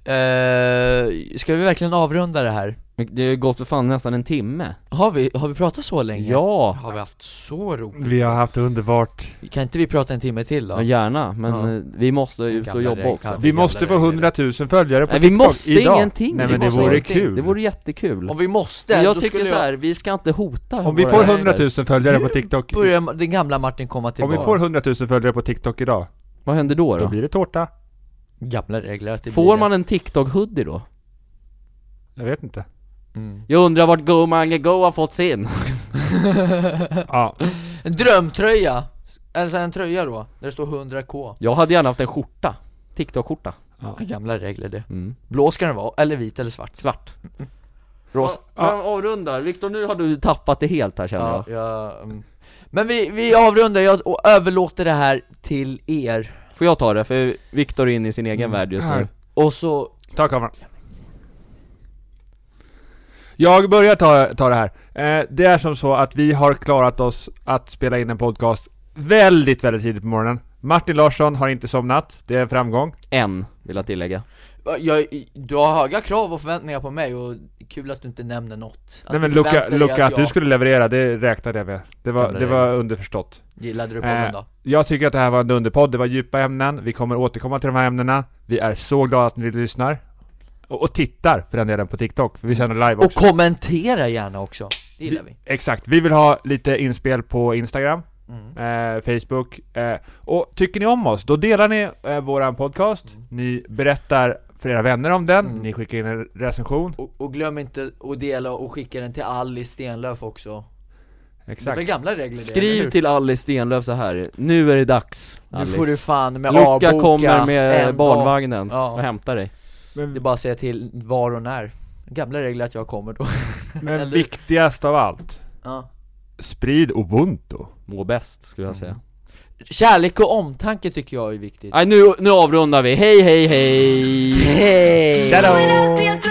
[SPEAKER 2] eh, Ska vi verkligen avrunda det här?
[SPEAKER 1] Men Det har ju gått för fan nästan en timme.
[SPEAKER 2] Har vi, har vi pratat så länge?
[SPEAKER 1] Ja.
[SPEAKER 2] Har vi haft så roligt?
[SPEAKER 3] Vi har haft underbart.
[SPEAKER 2] Kan inte vi prata en timme till
[SPEAKER 1] Ja,
[SPEAKER 2] då?
[SPEAKER 1] gärna, men
[SPEAKER 2] Ja.
[SPEAKER 1] eh, vi måste ut och
[SPEAKER 2] Gamla
[SPEAKER 1] jobba
[SPEAKER 2] regn-
[SPEAKER 1] också.
[SPEAKER 2] ja.
[SPEAKER 3] Vi måste få 100 000 följare på
[SPEAKER 1] Nej, vi
[SPEAKER 3] TikTok
[SPEAKER 1] måste
[SPEAKER 3] idag.
[SPEAKER 1] ingenting.
[SPEAKER 3] Nej
[SPEAKER 1] Vi
[SPEAKER 3] men det
[SPEAKER 1] måste
[SPEAKER 3] vore
[SPEAKER 2] ingenting.
[SPEAKER 3] kul.
[SPEAKER 1] Det vore jättekul.
[SPEAKER 2] Om vi måste,
[SPEAKER 1] Men
[SPEAKER 2] då
[SPEAKER 1] jag tycker
[SPEAKER 2] skulle
[SPEAKER 1] så här, vi ska inte hota
[SPEAKER 3] Om vi
[SPEAKER 1] våra
[SPEAKER 3] får
[SPEAKER 1] gäster.
[SPEAKER 3] 100 000 följare på TikTok.
[SPEAKER 2] jag börja den gamla Martin komma
[SPEAKER 3] Om
[SPEAKER 2] tillbaka
[SPEAKER 3] vi får 100 000 följare på TikTok idag,
[SPEAKER 1] Vad händer då
[SPEAKER 3] då
[SPEAKER 1] då?
[SPEAKER 3] blir det tårta.
[SPEAKER 2] Gamla regler att det blir
[SPEAKER 1] Får
[SPEAKER 2] det.
[SPEAKER 1] man en TikTok-hoodie då?
[SPEAKER 3] Jag vet inte.
[SPEAKER 2] Mm.
[SPEAKER 1] Jag undrar vart Go Mange Go har fått sin?
[SPEAKER 3] Ja,
[SPEAKER 2] En [LAUGHS] drömtröja! Eller så här en tröja då, där det står 100k
[SPEAKER 1] Jag hade gärna haft en skjorta. TikTok-skjorta.
[SPEAKER 2] Gamla regler det
[SPEAKER 1] Mm.
[SPEAKER 2] Blå ska den vara, eller vit eller svart
[SPEAKER 1] Svart.
[SPEAKER 2] Rosa
[SPEAKER 1] Ja, men avrundar. Viktor, nu har du tappat det helt här känner
[SPEAKER 2] Ja,
[SPEAKER 1] jag.
[SPEAKER 2] ja mm. Men vi, vi avrundar, jag och överlåter det här till er
[SPEAKER 1] Får jag ta det? För Viktor är inne i sin egen
[SPEAKER 2] Mm.
[SPEAKER 1] värld just
[SPEAKER 3] Här.
[SPEAKER 1] nu.
[SPEAKER 2] Och så,
[SPEAKER 3] ta kameran. Jag börjar ta, ta det här. Eh, det är som så att vi har klarat oss att spela in en podcast väldigt, väldigt tidigt på morgonen. Martin Larsson har inte somnat, det är en framgång.
[SPEAKER 1] En, vill jag tillägga.
[SPEAKER 2] jag, du har höga krav och förväntningar på mig och kul att du inte nämner något att
[SPEAKER 3] Nej men
[SPEAKER 2] du
[SPEAKER 3] Luca,
[SPEAKER 2] förväntar dig
[SPEAKER 3] Luca att
[SPEAKER 2] jag
[SPEAKER 3] du skulle leverera, det räknade jag med. Det var, det var underförstått.
[SPEAKER 2] Gillade du podden
[SPEAKER 3] Eh,
[SPEAKER 2] då?
[SPEAKER 3] jag tycker att det här var en underpodd, det var djupa ämnen, vi kommer återkomma till de här ämnena. Vi är så glada att ni lyssnar. Och, och tittar för den delen på TikTok, för vi sänder live också.
[SPEAKER 2] Och kommentera gärna också, det gillar vi
[SPEAKER 3] Exakt, vi vill ha lite inspel på Instagram,
[SPEAKER 2] mm.
[SPEAKER 3] eh, Facebook. Eh, och tycker ni om oss, då delar ni eh, våran podcast, ni berättar för era vänner om den,
[SPEAKER 2] Mm.
[SPEAKER 3] ni skickar in en recension.
[SPEAKER 2] och, och glöm inte att dela och skicka den till Alice Stenlöf också Det är väl
[SPEAKER 3] Exakt.
[SPEAKER 2] gamla regler det, eller
[SPEAKER 1] Skriv
[SPEAKER 2] hur?
[SPEAKER 1] till Alice Stenlöf så här. nu är det dags
[SPEAKER 2] Nu
[SPEAKER 1] Alice.
[SPEAKER 2] får du fan med
[SPEAKER 1] Luca
[SPEAKER 2] avboka
[SPEAKER 1] kommer med
[SPEAKER 2] en dag.
[SPEAKER 1] barnvagnen
[SPEAKER 2] Ja.
[SPEAKER 1] och hämtar dig.
[SPEAKER 2] Det är
[SPEAKER 3] Men,
[SPEAKER 2] bara att säga till var och när Gamla regler att jag kommer då
[SPEAKER 3] men
[SPEAKER 2] Eller-
[SPEAKER 3] viktigast av allt,
[SPEAKER 2] ja.
[SPEAKER 3] sprid ubuntu.
[SPEAKER 1] Må bäst, skulle jag
[SPEAKER 2] Mm.
[SPEAKER 1] säga.
[SPEAKER 2] Kärlek och omtanke tycker jag är viktigt
[SPEAKER 1] Nej, nu, nu avrundar vi. Hej, hej, hej!
[SPEAKER 2] Hej!
[SPEAKER 4] Allt det jag Ah, Ah,